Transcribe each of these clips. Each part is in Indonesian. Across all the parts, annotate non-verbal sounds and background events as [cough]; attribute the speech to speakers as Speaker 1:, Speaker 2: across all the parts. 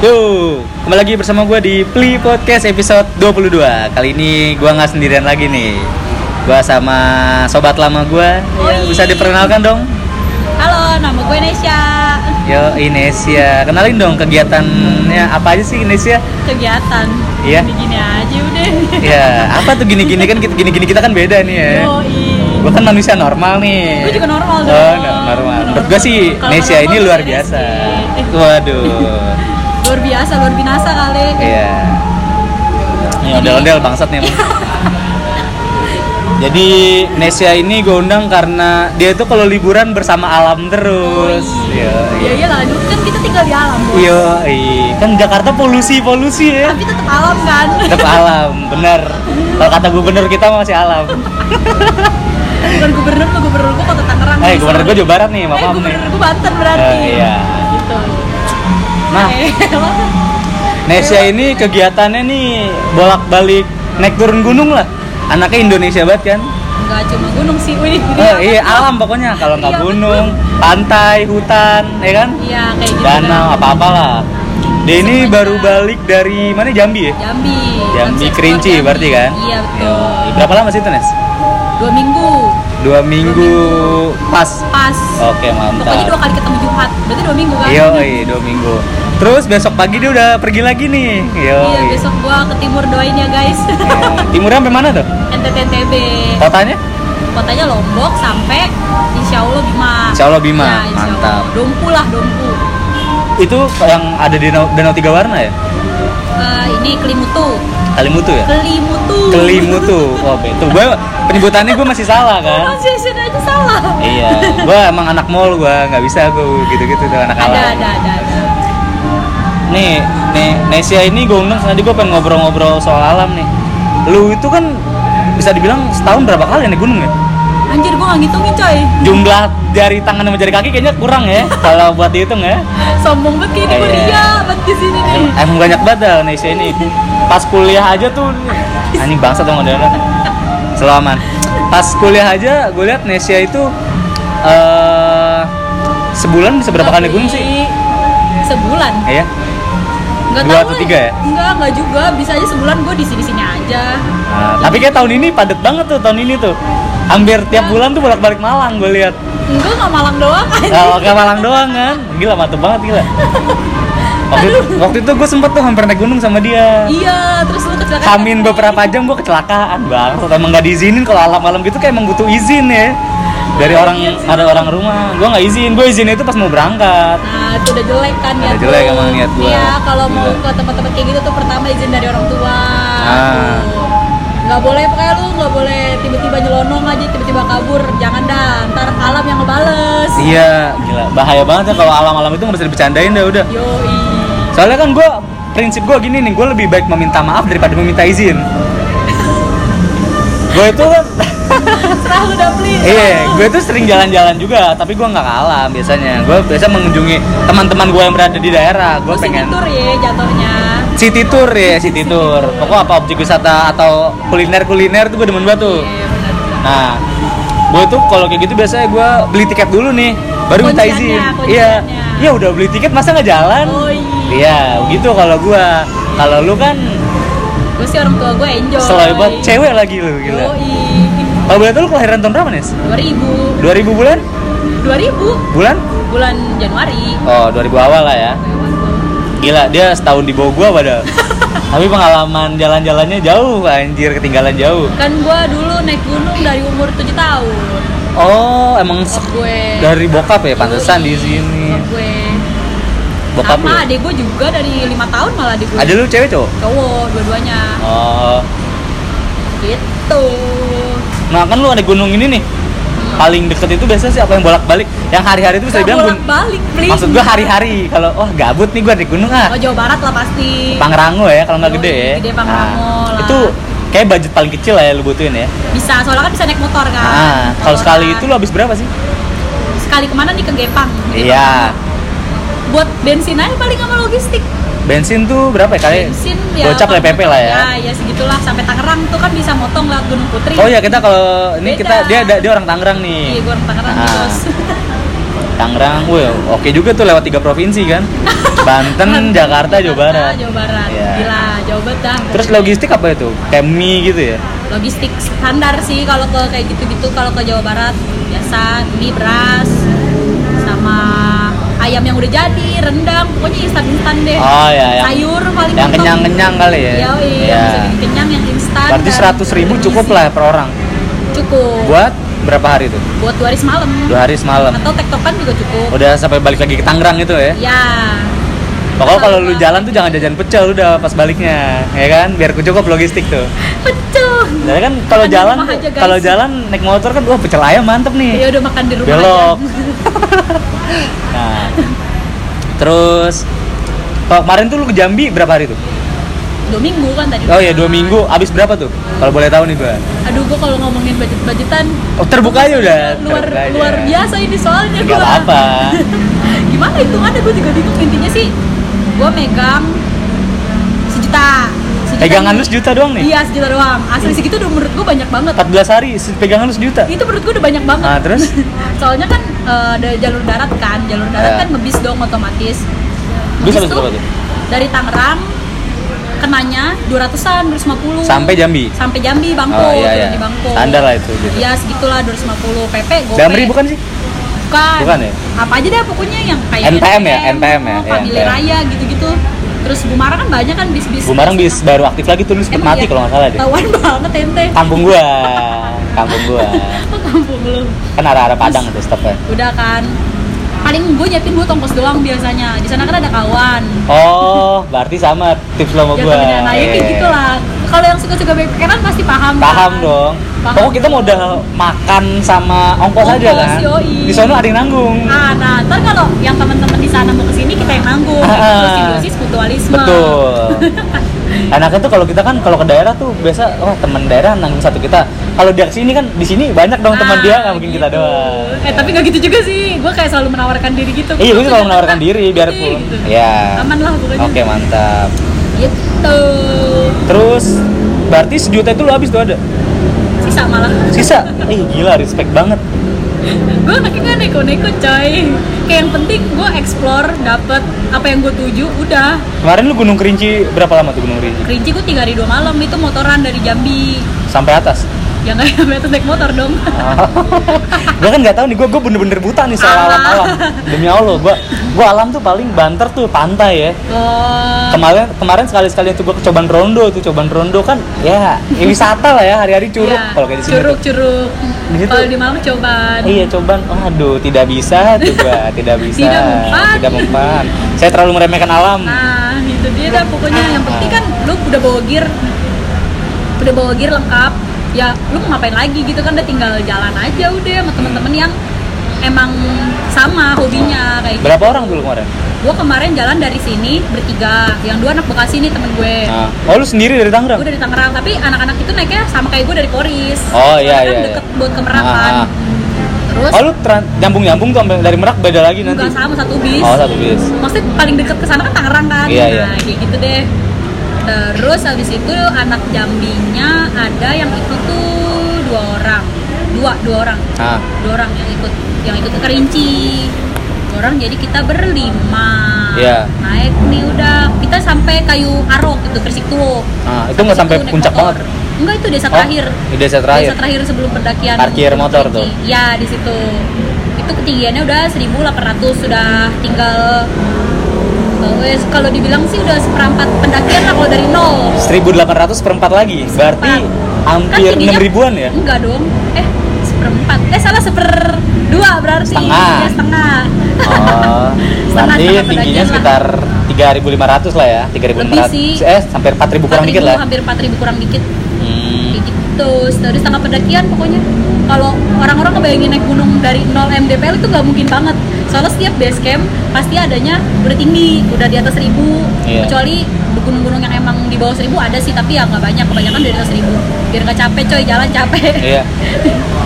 Speaker 1: Yo, kembali lagi bersama gue di Pli Podcast episode 22 Kali ini gue nggak sendirian lagi nih Gue sama sobat lama gue
Speaker 2: Oi.
Speaker 1: Bisa diperkenalkan dong
Speaker 2: Halo, nama gue Nesya.
Speaker 1: Yo, Inesia Kenalin dong kegiatannya apa aja sih Inesia?
Speaker 2: Kegiatan.
Speaker 1: Iya.
Speaker 2: Gini-gini aja udah.
Speaker 1: Ya, apa tuh gini-gini kan kita- gini-gini kita kan beda nih ya
Speaker 2: Yoi.
Speaker 1: Gue kan manusia normal nih
Speaker 2: Gue juga normal dong.
Speaker 1: Oh, no- normal Menurut gue sih
Speaker 2: Kalau nggak
Speaker 1: Inesia ini
Speaker 2: normal,
Speaker 1: luar
Speaker 2: gue
Speaker 1: biasa
Speaker 2: Nesya.
Speaker 1: Waduh
Speaker 2: Luar biasa, luar binasa kali.
Speaker 1: Iya. Ini ondel-ondel bangsat nih. emang. Jadi Nesya ini gue undang karena dia tuh kalau liburan bersama alam terus. Iya.
Speaker 2: Iya iya lah, dulu kan kita tinggal di alam. Bu.
Speaker 1: Iya, iya. kan Jakarta polusi-polusi ya.
Speaker 2: Tapi tetap alam kan.
Speaker 1: Tetap alam, bener. Kalau kata gubernur kita masih alam.
Speaker 2: Bukan gubernur lu, gubernur gue kota Tangerang.
Speaker 1: Eh, gubernur gue Jawa Barat nih,
Speaker 2: Eh,
Speaker 1: maaf nih.
Speaker 2: gubernur gue Banten berarti.
Speaker 1: Eh, iya.
Speaker 2: Gitu.
Speaker 1: Nah,
Speaker 2: Eh,
Speaker 1: Nesya ini kegiatannya nih bolak-balik naik turun gunung lah. Anaknya Indonesia banget kan?
Speaker 2: Enggak cuma gunung sih, wih.
Speaker 1: Eh, iya alam pokoknya kalau nggak
Speaker 2: kan? Iya,
Speaker 1: gunung, pantai, hutan, ya kan?
Speaker 2: Iya, kayak gitu.
Speaker 1: Danau apa-apalah. Dia ini
Speaker 2: Semuanya.
Speaker 1: baru balik dari mana Jambi ya?
Speaker 2: Jambi.
Speaker 1: Jambi
Speaker 2: Ekspor
Speaker 1: Kerinci
Speaker 2: Jambi.
Speaker 1: berarti kan?
Speaker 2: Iya betul.
Speaker 1: Yoi. Berapa lama sih itu Nes?
Speaker 2: Dua minggu
Speaker 1: Dua minggu pas.
Speaker 2: pas.
Speaker 1: Oke
Speaker 2: Pokoknya dua
Speaker 1: mantap.
Speaker 2: kali ketemu Jumat. Berarti dua minggu kan?
Speaker 1: Oh, Yoi, dua minggu. Terus besok pagi dia udah pergi lagi nih. Yoi.
Speaker 2: Iya, besok gua ke timur doain ya guys. [laughs]
Speaker 1: Iya. Timurnya sampai mana tuh?
Speaker 2: NTT NTB.
Speaker 1: Kotanya?
Speaker 2: Kotanya Lombok sampai Insya Allah Bima.
Speaker 1: Insya Allah Bima.
Speaker 2: Ya, insya
Speaker 1: Mantap.
Speaker 2: Allah. Dompu lah Dompu.
Speaker 1: Itu yang ada di Danau, Danau Tiga Warna ya?
Speaker 2: Eh, ini Kelimutu.
Speaker 1: Kalimutu ya?
Speaker 2: Kelimutu. [laughs]
Speaker 1: Kelimutu. Wah, itu gue penyebutannya gue masih salah kan?
Speaker 2: Pronunciation Oh, aja salah.
Speaker 1: iya gua emang anak mall gua nggak bisa gua gitu-gitu tuh anak
Speaker 2: Ada,
Speaker 1: alam
Speaker 2: ada, ada, ada.
Speaker 1: nih nih Nesia ini gua undang tadi gua pengen ngobrol-ngobrol soal alam nih lu itu kan bisa dibilang setahun berapa kali naik gunung ya
Speaker 2: Anjir gua nggak ngitungin coy.
Speaker 1: jumlah jari tangan sama jari kaki kayaknya kurang ya kalau buat dihitung ya
Speaker 2: Sombong banget kayak ini gua
Speaker 1: Iya.
Speaker 2: ria banget di sini nih.
Speaker 1: Em- emang banyak banget dah Nesia ini pas kuliah aja tuh anjing bangsa tuh modern selaman kan. pas kuliah aja gue lihat Nesia itu eh sebulan bisa berapa kali naik gunung sih
Speaker 2: Tapi Sebulan.
Speaker 1: Iya.
Speaker 2: Nggak
Speaker 1: Dua
Speaker 2: tahu
Speaker 1: atau
Speaker 2: lah.
Speaker 1: tiga ya?
Speaker 2: Nggak, nggak juga. Bisa aja sebulan gue di sini-sini aja.
Speaker 1: Nah, tapi kayak tahun ini padat banget tuh tahun ini tuh. Hampir tiap bulan tuh bolak-balik Malang gue lihat.
Speaker 2: Enggak, nggak Malang doang. [laughs]
Speaker 1: Kalau ke Malang doang kan. Gila mantep banget gila. Waktu itu, waktu itu gue sempet tuh hampir naik gunung sama dia.
Speaker 2: iya, terus lu kecelakaan.
Speaker 1: Kamin beberapa jam gue kecelakaan bang. Tuh, emang nggak diizinin kalau alam-alam gitu kayak emang butuh izin ya. Dari orang ada orang rumah, gue nggak izin. Gue izin itu pas mau berangkat.
Speaker 2: Nah, itu udah jelek kan
Speaker 1: Udah
Speaker 2: niat
Speaker 1: jelek
Speaker 2: lu.
Speaker 1: emang niat gua.
Speaker 2: Iya, kalau mau
Speaker 1: Gila.
Speaker 2: ke tempat-tempat kayak gitu tuh pertama izin dari orang tua.
Speaker 1: Ah.
Speaker 2: Tuh. Nggak boleh pokoknya lu nggak boleh tiba-tiba nyelonong aja, tiba-tiba kabur. Jangan dah, ntar alam yang ngebales.
Speaker 1: Iya, gila bahaya banget ya kalau alam-alam itu nggak bisa dibercandain dah udah.
Speaker 2: Yoi.
Speaker 1: Soalnya kan gue prinsip gue gini nih, gue lebih baik meminta maaf daripada meminta izin. gue itu kan,
Speaker 2: Serah lu udah beli.
Speaker 1: iya, gue itu sering jalan-jalan juga, tapi gue nggak kalah biasanya. Gue biasa mengunjungi teman-teman gue yang berada di daerah. Gue
Speaker 2: Lu
Speaker 1: pengen
Speaker 2: sini tur ya jatuhnya.
Speaker 1: city tour ya, city tour. Pokoknya apa objek wisata atau kuliner-kuliner tuh gue demen banget tuh.
Speaker 2: Iya, benar.
Speaker 1: Nah, gue tuh kalau kayak gitu biasanya gue beli tiket dulu nih, baru minta izin.
Speaker 2: Kunciannya,
Speaker 1: Iya,
Speaker 2: kunciannya.
Speaker 1: iya udah beli tiket masa nggak jalan?
Speaker 2: Yoi.
Speaker 1: Iya, gitu kalau gua. Kalau lu kan
Speaker 2: Gue sih orang tua gue enjoy.
Speaker 1: selalu buat cewek lagi lu gila.
Speaker 2: Gila.
Speaker 1: Kalau boleh tahu lu kelahiran tahun berapa, Nes?
Speaker 2: 2000.
Speaker 1: 2000 bulan?
Speaker 2: 2000
Speaker 1: Bulan?
Speaker 2: bulan Januari.
Speaker 1: Oh, 2000 awal lah ya. Gila, dia setahun di bawah gua [laughs] padahal. Tapi pengalaman jalan-jalannya jauh, anjir ketinggalan jauh.
Speaker 2: Kan gua dulu naik gunung dari umur 7 tahun.
Speaker 1: Oh, emang
Speaker 2: Bokap
Speaker 1: se-
Speaker 2: gue.
Speaker 1: dari bokap ya pantesan di
Speaker 2: Yoi,
Speaker 1: sini.
Speaker 2: bokap gue.
Speaker 1: Bokap
Speaker 2: Sama
Speaker 1: lu.
Speaker 2: adik gue juga dari 5 tahun malah adik gue.
Speaker 1: Ada lu cewek cowok?
Speaker 2: cowok dua-duanya.
Speaker 1: Oh.
Speaker 2: Gitu.
Speaker 1: Nah, kan lu ada gunung ini nih. Paling deket itu biasanya sih apa yang bolak-balik? Yang hari-hari itu bisa
Speaker 2: Gak
Speaker 1: dibilang gun-
Speaker 2: bolak-balik, please.
Speaker 1: Maksud gua hari-hari kalau wah gabut nih gua di gunung ah.
Speaker 2: Oh, Jawa Barat lah pasti.
Speaker 1: Pangrango ya kalau nggak gede ya.
Speaker 2: Gede Pangrango lah.
Speaker 1: Itu kayak budget paling kecil lah ya lu butuhin ya.
Speaker 2: Bisa, soalnya kan bisa naik motor kan.
Speaker 1: Nah, kalau
Speaker 2: Motoran.
Speaker 1: sekali itu lu habis berapa sih?
Speaker 2: sekali kemana nih ke Gepang.
Speaker 1: Iya.
Speaker 2: Buat bensin aja paling sama logistik.
Speaker 1: Bensin tuh berapa ya kali?
Speaker 2: bensin
Speaker 1: Gocap lah PP lah ya.
Speaker 2: ya segitulah sampai Tangerang tuh kan bisa motong lewat Gunung Putri
Speaker 1: Oh ya kita kalau ini
Speaker 2: Beda.
Speaker 1: kita dia dia dia orang Tangerang
Speaker 2: iya
Speaker 1: nih. Nah.
Speaker 2: gue orang Tangerang
Speaker 1: Ah.
Speaker 2: bos
Speaker 1: Tangerang, wah oke juga tuh lewat tiga provinsi
Speaker 2: [laughs]
Speaker 1: kan, Banten, Kan Jakarta, Jawa Barat.
Speaker 2: Kan Jawa Barat.
Speaker 1: Iya.
Speaker 2: Gila, jauh banget dah.
Speaker 1: Terus logistik apa itu? Kayak mie gitu ya?
Speaker 2: logistik standar sih kalau ke kayak gitu-gitu kalau ke Jawa Barat biasa mie beras sama ayam yang udah jadi rendang pokoknya instan instan deh
Speaker 1: Oh ya, yang,
Speaker 2: Eh, sayur paling
Speaker 1: yang
Speaker 2: mentok.
Speaker 1: kenyang-kenyang kali ya.
Speaker 2: Iya, iya,
Speaker 1: Iya.
Speaker 2: bisa bikin kenyang yang instan
Speaker 1: Berarti
Speaker 2: kan.
Speaker 1: seratus ribu cukup
Speaker 2: Berisi.
Speaker 1: lah per orang.
Speaker 2: cukup buat
Speaker 1: Buat berapa hari tuh?
Speaker 2: buat dua hari semalam
Speaker 1: Dua hari semalam.
Speaker 2: atau tektokan juga cukup
Speaker 1: Udah sampai balik lagi ke Tangerang gitu ya?
Speaker 2: ya
Speaker 1: Pokoknya kalau
Speaker 2: Iya.
Speaker 1: lu jalan tuh jangan jajan pecel udah pas baliknya, ya kan? Biar cukup logistik tuh.
Speaker 2: pecel
Speaker 1: Soalnya kan kalau
Speaker 2: Makan di
Speaker 1: jalan
Speaker 2: rumah aja, guys.
Speaker 1: kalau jalan naik motor kan wah pecel ayam mantep
Speaker 2: ya
Speaker 1: nih.
Speaker 2: udah makan di rumah [laughs]
Speaker 1: Belok.
Speaker 2: aja.
Speaker 1: Nah. Terus kalau kemarin tuh lu ke Jambi berapa hari tuh?
Speaker 2: dua minggu kan tadi
Speaker 1: Oh ya dua minggu. Abis berapa tuh? Kalau boleh tahu nih gua.
Speaker 2: aduh gua kalau ngomongin budget budgetan
Speaker 1: Oh terbuka aja udah.
Speaker 2: luar
Speaker 1: Terbuka aja.
Speaker 2: luar biasa ini soalnya
Speaker 1: Nggak
Speaker 2: gua. [laughs]
Speaker 1: apa-apa.
Speaker 2: gimana hitungannya gue juga bingung intinya sih gue megang sejuta Sejuta
Speaker 1: Pegangan
Speaker 2: nih.
Speaker 1: lu sejuta doang nih. Hmm.
Speaker 2: iya sejuta doang asli segitu udah menurut gue banyak banget
Speaker 1: 14 hari se- pegangan lu sejuta.
Speaker 2: itu menurut gue udah banyak banget
Speaker 1: Nah, terus?
Speaker 2: [laughs] soalnya kan eh, dari jalur darat kan jalur darat
Speaker 1: Ya.
Speaker 2: kan ngebis dong otomatis
Speaker 1: Bis
Speaker 2: Ngebis
Speaker 1: habis
Speaker 2: tuh
Speaker 1: berapa tuh?
Speaker 2: dari Tangerang kenanya 200-an 250
Speaker 1: Sampai Jambi.
Speaker 2: sampai Jambi Bangko
Speaker 1: Oh iya
Speaker 2: turun
Speaker 1: iya.
Speaker 2: di Bangko
Speaker 1: Standar lah itu gitu.
Speaker 2: Iya segitulah 250 PP gue
Speaker 1: Damri bukan sih?
Speaker 2: Bukan.
Speaker 1: Bukan ya?
Speaker 2: Apa aja deh pokoknya yang kayak
Speaker 1: NPM ya? NPM ya?
Speaker 2: oh, Family
Speaker 1: NPM.
Speaker 2: Raya gitu-gitu. Terus Bumarang kan banyak kan bis-bis.
Speaker 1: Bumarang bis baru aktif lagi tuh lu sempet
Speaker 2: Emang
Speaker 1: mati
Speaker 2: iya?
Speaker 1: kalau nggak salah deh.
Speaker 2: Tahuan [laughs] banget ente.
Speaker 1: Kampung gua. Kampung gua.
Speaker 2: Ke kampung lu.
Speaker 1: Kan arah-arah Padang tuh stopnya.
Speaker 2: Udah kan. Paling gue nyiapin gue tongkos doang biasanya. Di sana kan ada kawan.
Speaker 1: Oh, berarti sama tips lo sama
Speaker 2: Jatuh
Speaker 1: Oh, gua.
Speaker 2: beneran. Nah, ya kayak
Speaker 1: Iya.
Speaker 2: gitu lah. Kalau yang suka-suka backpackeran pasti paham.
Speaker 1: Paham
Speaker 2: kan?
Speaker 1: dong.
Speaker 2: Paham.
Speaker 1: Pokoknya kita modal makan sama ongkos,
Speaker 2: Ongkos,
Speaker 1: aja kan.
Speaker 2: yoi.
Speaker 1: Di sono ada yang nanggung.
Speaker 2: Ah, nah, ntar kalau yang teman-teman di sana mau kesini kita yang nanggung.
Speaker 1: Ah.
Speaker 2: Simbiosis mutualisme. [laughs]
Speaker 1: Betul. Enaknya tuh kalau kita kan kalau ke daerah tuh biasa oh teman daerah nanggung satu kita. Kalau di sini kan di sini banyak dong teman
Speaker 2: Ah,
Speaker 1: dia nggak mungkin kita
Speaker 2: gitu.
Speaker 1: doang.
Speaker 2: Eh tapi nggak gitu juga sih, gue kayak selalu menawarkan diri gitu.
Speaker 1: Iya, gue selalu menawarkan diri biarpun.
Speaker 2: Gitu.
Speaker 1: Ya.
Speaker 2: Aman lah pokoknya.
Speaker 1: Oke, mantap.
Speaker 2: Gitu.
Speaker 1: Terus berarti sejuta itu lo habis tuh ada.
Speaker 2: Sisa malah.
Speaker 1: Sisa. Ih, gila respect banget.
Speaker 2: Gue anaknya nggak neko-neko coy. Kayak yang penting gue explore, dapet apa yang gue tuju, udah.
Speaker 1: Kemarin lu Gunung Kerinci berapa lama tuh Gunung Kerinci?
Speaker 2: Kerinci gue tiga hari dua malam itu motoran dari Jambi.
Speaker 1: Sampai atas.
Speaker 2: Ya nggak [laughs] ya, itu naik motor
Speaker 1: [laughs]
Speaker 2: dong.
Speaker 1: gue kan nggak tahu nih gue gue bener-bener buta nih soal
Speaker 2: Alam.
Speaker 1: alam alam demi allah gue gue alam tuh paling banter tuh pantai ya
Speaker 2: Oh.
Speaker 1: kemarin kemarin sekali sekali tuh gue cobaan rondo tuh cobaan rondo kan ya, ya wisata lah ya hari-hari curug
Speaker 2: Iya,
Speaker 1: kalau kayak di sini tuh.
Speaker 2: curug curug
Speaker 1: Di situ-
Speaker 2: kalau di Malang coba
Speaker 1: iya cobaan aduh tidak bisa tuh gue
Speaker 2: [laughs]
Speaker 1: tidak bisa
Speaker 2: Tidak mempan.
Speaker 1: tidak mempan saya terlalu meremehkan alam
Speaker 2: Nah, itu dia dah pokoknya
Speaker 1: Ah.
Speaker 2: yang penting kan lu udah bawa gear udah bawa gear lengkap. Ya, lu mau ngapain lagi gitu kan udah tinggal jalan aja udah sama temen-temen yang emang sama hobinya kayak gitu.
Speaker 1: berapa orang dulu kemarin
Speaker 2: Gua kemarin jalan dari sini bertiga, yang dua anak Bekasi nih temen gue.
Speaker 1: nah. oh lu sendiri dari Tangerang
Speaker 2: Gue dari Tangerang, tapi anak-anak itu naiknya sama kayak gue dari Koris.
Speaker 1: Oh, iya,
Speaker 2: Karena kan
Speaker 1: iya,
Speaker 2: deket
Speaker 1: iya.
Speaker 2: buat ke Merak kan.
Speaker 1: Ah, ah.
Speaker 2: Terus
Speaker 1: oh lu nyambung nyambung tuh sampai dari Merak beda lagi nanti
Speaker 2: nggak sama satu bis.
Speaker 1: oh satu bis
Speaker 2: maksudnya paling deket ke sana kan Tangerang kan
Speaker 1: Iya,
Speaker 2: nah
Speaker 1: iya.
Speaker 2: kayak gitu deh terus habis itu anak Jambinya ada yang ikut tuh dua orang dua dua orang
Speaker 1: ah
Speaker 2: dua orang yang ikut yang ikut ke Kerinci dua orang jadi kita berlima
Speaker 1: Iya.
Speaker 2: naik nih udah kita sampai kayu arok itu Gresik tuh
Speaker 1: ah itu nggak sampai puncak banget
Speaker 2: enggak itu desa
Speaker 1: Oh,
Speaker 2: terakhir
Speaker 1: di desa terakhir.
Speaker 2: desa terakhir sebelum pendakian
Speaker 1: Parkir motor tuh.
Speaker 2: ya di situ itu ketinggiannya udah 1800 sudah tinggal eh, wes, kalau dibilang sih udah seperempat pendakian lah kalau dari nol
Speaker 1: 1800 perempat lagi. Berarti hampir
Speaker 2: Kan tingginya-
Speaker 1: 6000 ribuan ya?
Speaker 2: enggak dong eh seperempat eh salah seperdua berarti
Speaker 1: Setengah.
Speaker 2: Ya, setengah
Speaker 1: Oh, berarti
Speaker 2: Setengah-setengah
Speaker 1: tingginya
Speaker 2: pendakian
Speaker 1: sekitar 3500 lah ya,
Speaker 2: Lebih sih.
Speaker 1: 3500. Eh, sampai 4000 kurang
Speaker 2: 4.000,
Speaker 1: dikit lah.
Speaker 2: hampir 4000 kurang dikit
Speaker 1: Hmm.
Speaker 2: kayak gitu dari setengah pendakian pokoknya kalau orang-orang kebayangin naik gunung dari 0 mdpl itu nggak mungkin banget soalnya setiap base camp pasti adanya udah tinggi udah di atas 1000
Speaker 1: Iya.
Speaker 2: kecuali gunung-gunung yang emang di bawah 1000 ada sih tapi ya nggak banyak kebanyakan di atas 1000 biar nggak capek coy jalan capek
Speaker 1: Iya.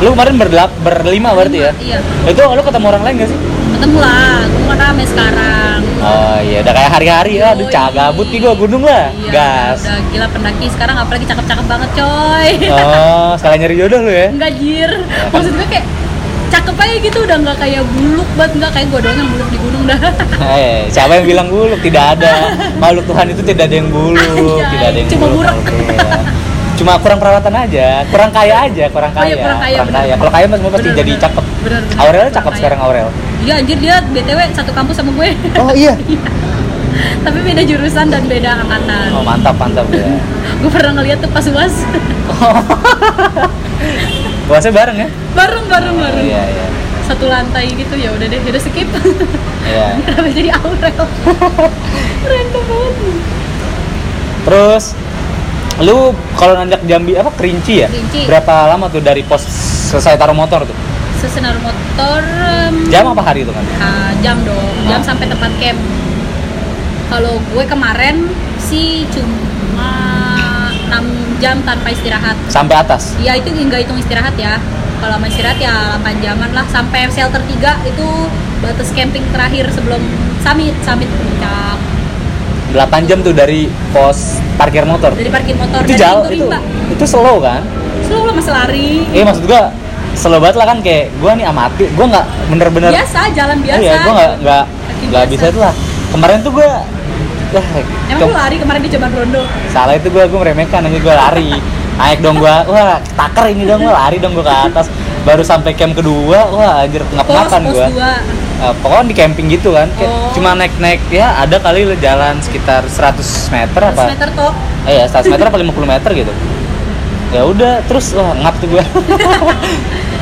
Speaker 1: Lu kemarin berdelap, berlima berarti ya?
Speaker 2: iya
Speaker 1: Itu lu ketemu orang lain gak sih?
Speaker 2: ketemu lah gunung kan rame sekarang
Speaker 1: Oh iya, udah kayak hari-hari ya, aduh
Speaker 2: Yoi.
Speaker 1: cah gabut nih gua gunung lah.
Speaker 2: Oh, Iya,
Speaker 1: Gas.
Speaker 2: udah gila pendaki sekarang apalagi cakep-cakep banget coy
Speaker 1: Oh, salah nyari jodoh lu ya.
Speaker 2: Enggak jir, maksud gue kayak cakep aja gitu udah nggak kayak buluk banget nggak kayak gue doang yang buluk di gunung dah [laughs]
Speaker 1: Eh, siapa yang bilang buluk? Tidak ada. Makhluk Tuhan itu tidak ada yang buluk,
Speaker 2: Anjay,
Speaker 1: tidak ada yang
Speaker 2: cuma
Speaker 1: buluk.
Speaker 2: burak.
Speaker 1: makhluk Tuhan. Cuma kurang perawatan aja, kurang kaya aja, kurang
Speaker 2: Oh
Speaker 1: kaya.
Speaker 2: iya, kurang kaya, bener.
Speaker 1: Kalau kaya mah semua pasti
Speaker 2: Bener,
Speaker 1: jadi
Speaker 2: bener.
Speaker 1: cakep.
Speaker 2: Bener, bener.
Speaker 1: Aurel
Speaker 2: Kurang
Speaker 1: cakep
Speaker 2: kaya.
Speaker 1: sekarang Aurel.
Speaker 2: iya anjir dia btw satu kampus sama gue [laughs]
Speaker 1: Oh iya.
Speaker 2: tapi beda jurusan dan beda angkatan
Speaker 1: Oh mantap, mantap ya.
Speaker 2: gue pernah ngeliat tuh pas uas
Speaker 1: Puasa bareng ya?
Speaker 2: [laughs] bareng bareng
Speaker 1: Oh,
Speaker 2: bareng
Speaker 1: Iya, iya.
Speaker 2: satu lantai gitu ya udah deh udah skip [laughs]
Speaker 1: Iya.
Speaker 2: kenapa jadi Aurel [laughs] random banget
Speaker 1: Terus lu kalau nanjak Jambi apa Kerinci ya?
Speaker 2: Kerinci.
Speaker 1: Berapa lama tuh dari pos selesai taruh motor tuh?
Speaker 2: sesenar motor em,
Speaker 1: Jam apa hari itu kan?
Speaker 2: ah, jam dong jam
Speaker 1: Ah.
Speaker 2: sampai tempat camp kalau gue kemarin sih cuma 6 jam tanpa istirahat
Speaker 1: Sampai atas.
Speaker 2: ya itu nggak hitung istirahat ya kalau sama istirahat ya 8 jaman lah sampai shelter 3 itu batas camping terakhir sebelum summit summit puncak
Speaker 1: 8 jam tuh dari pos parkir motor.
Speaker 2: dari parkir
Speaker 1: itu
Speaker 2: motor dari
Speaker 1: jauh itu
Speaker 2: pintu rimba
Speaker 1: itu slow kan
Speaker 2: selalu mas lari
Speaker 1: eh maksud gua slow banget lah kan kayak gua nih amati gua nggak bener-bener
Speaker 2: biasa jalan biasa
Speaker 1: iya gua nggak nggak
Speaker 2: Kaki
Speaker 1: nggak
Speaker 2: biasa.
Speaker 1: bisa itu lah kemarin tuh gua Yah,
Speaker 2: emang lu lari kemarin di Jaman Rondo
Speaker 1: salah itu gua gua meremehkan aja gua lari naik dong gua wah taker ini dong gua lari dong gua ke atas baru sampai camp kedua wah anjir
Speaker 2: pos
Speaker 1: ngap-ngapan
Speaker 2: pos
Speaker 1: gua
Speaker 2: dua
Speaker 1: Eh, pokoknya di camping gitu kan kayak
Speaker 2: Oh.
Speaker 1: cuma naik-naik ya ada kali lu jalan sekitar 100 meter
Speaker 2: 100
Speaker 1: apa
Speaker 2: meter top
Speaker 1: Eh ya, 100 meter apa 50 meter gitu. Ya udah, terus wah ngap tuh
Speaker 2: [laughs]
Speaker 1: gua.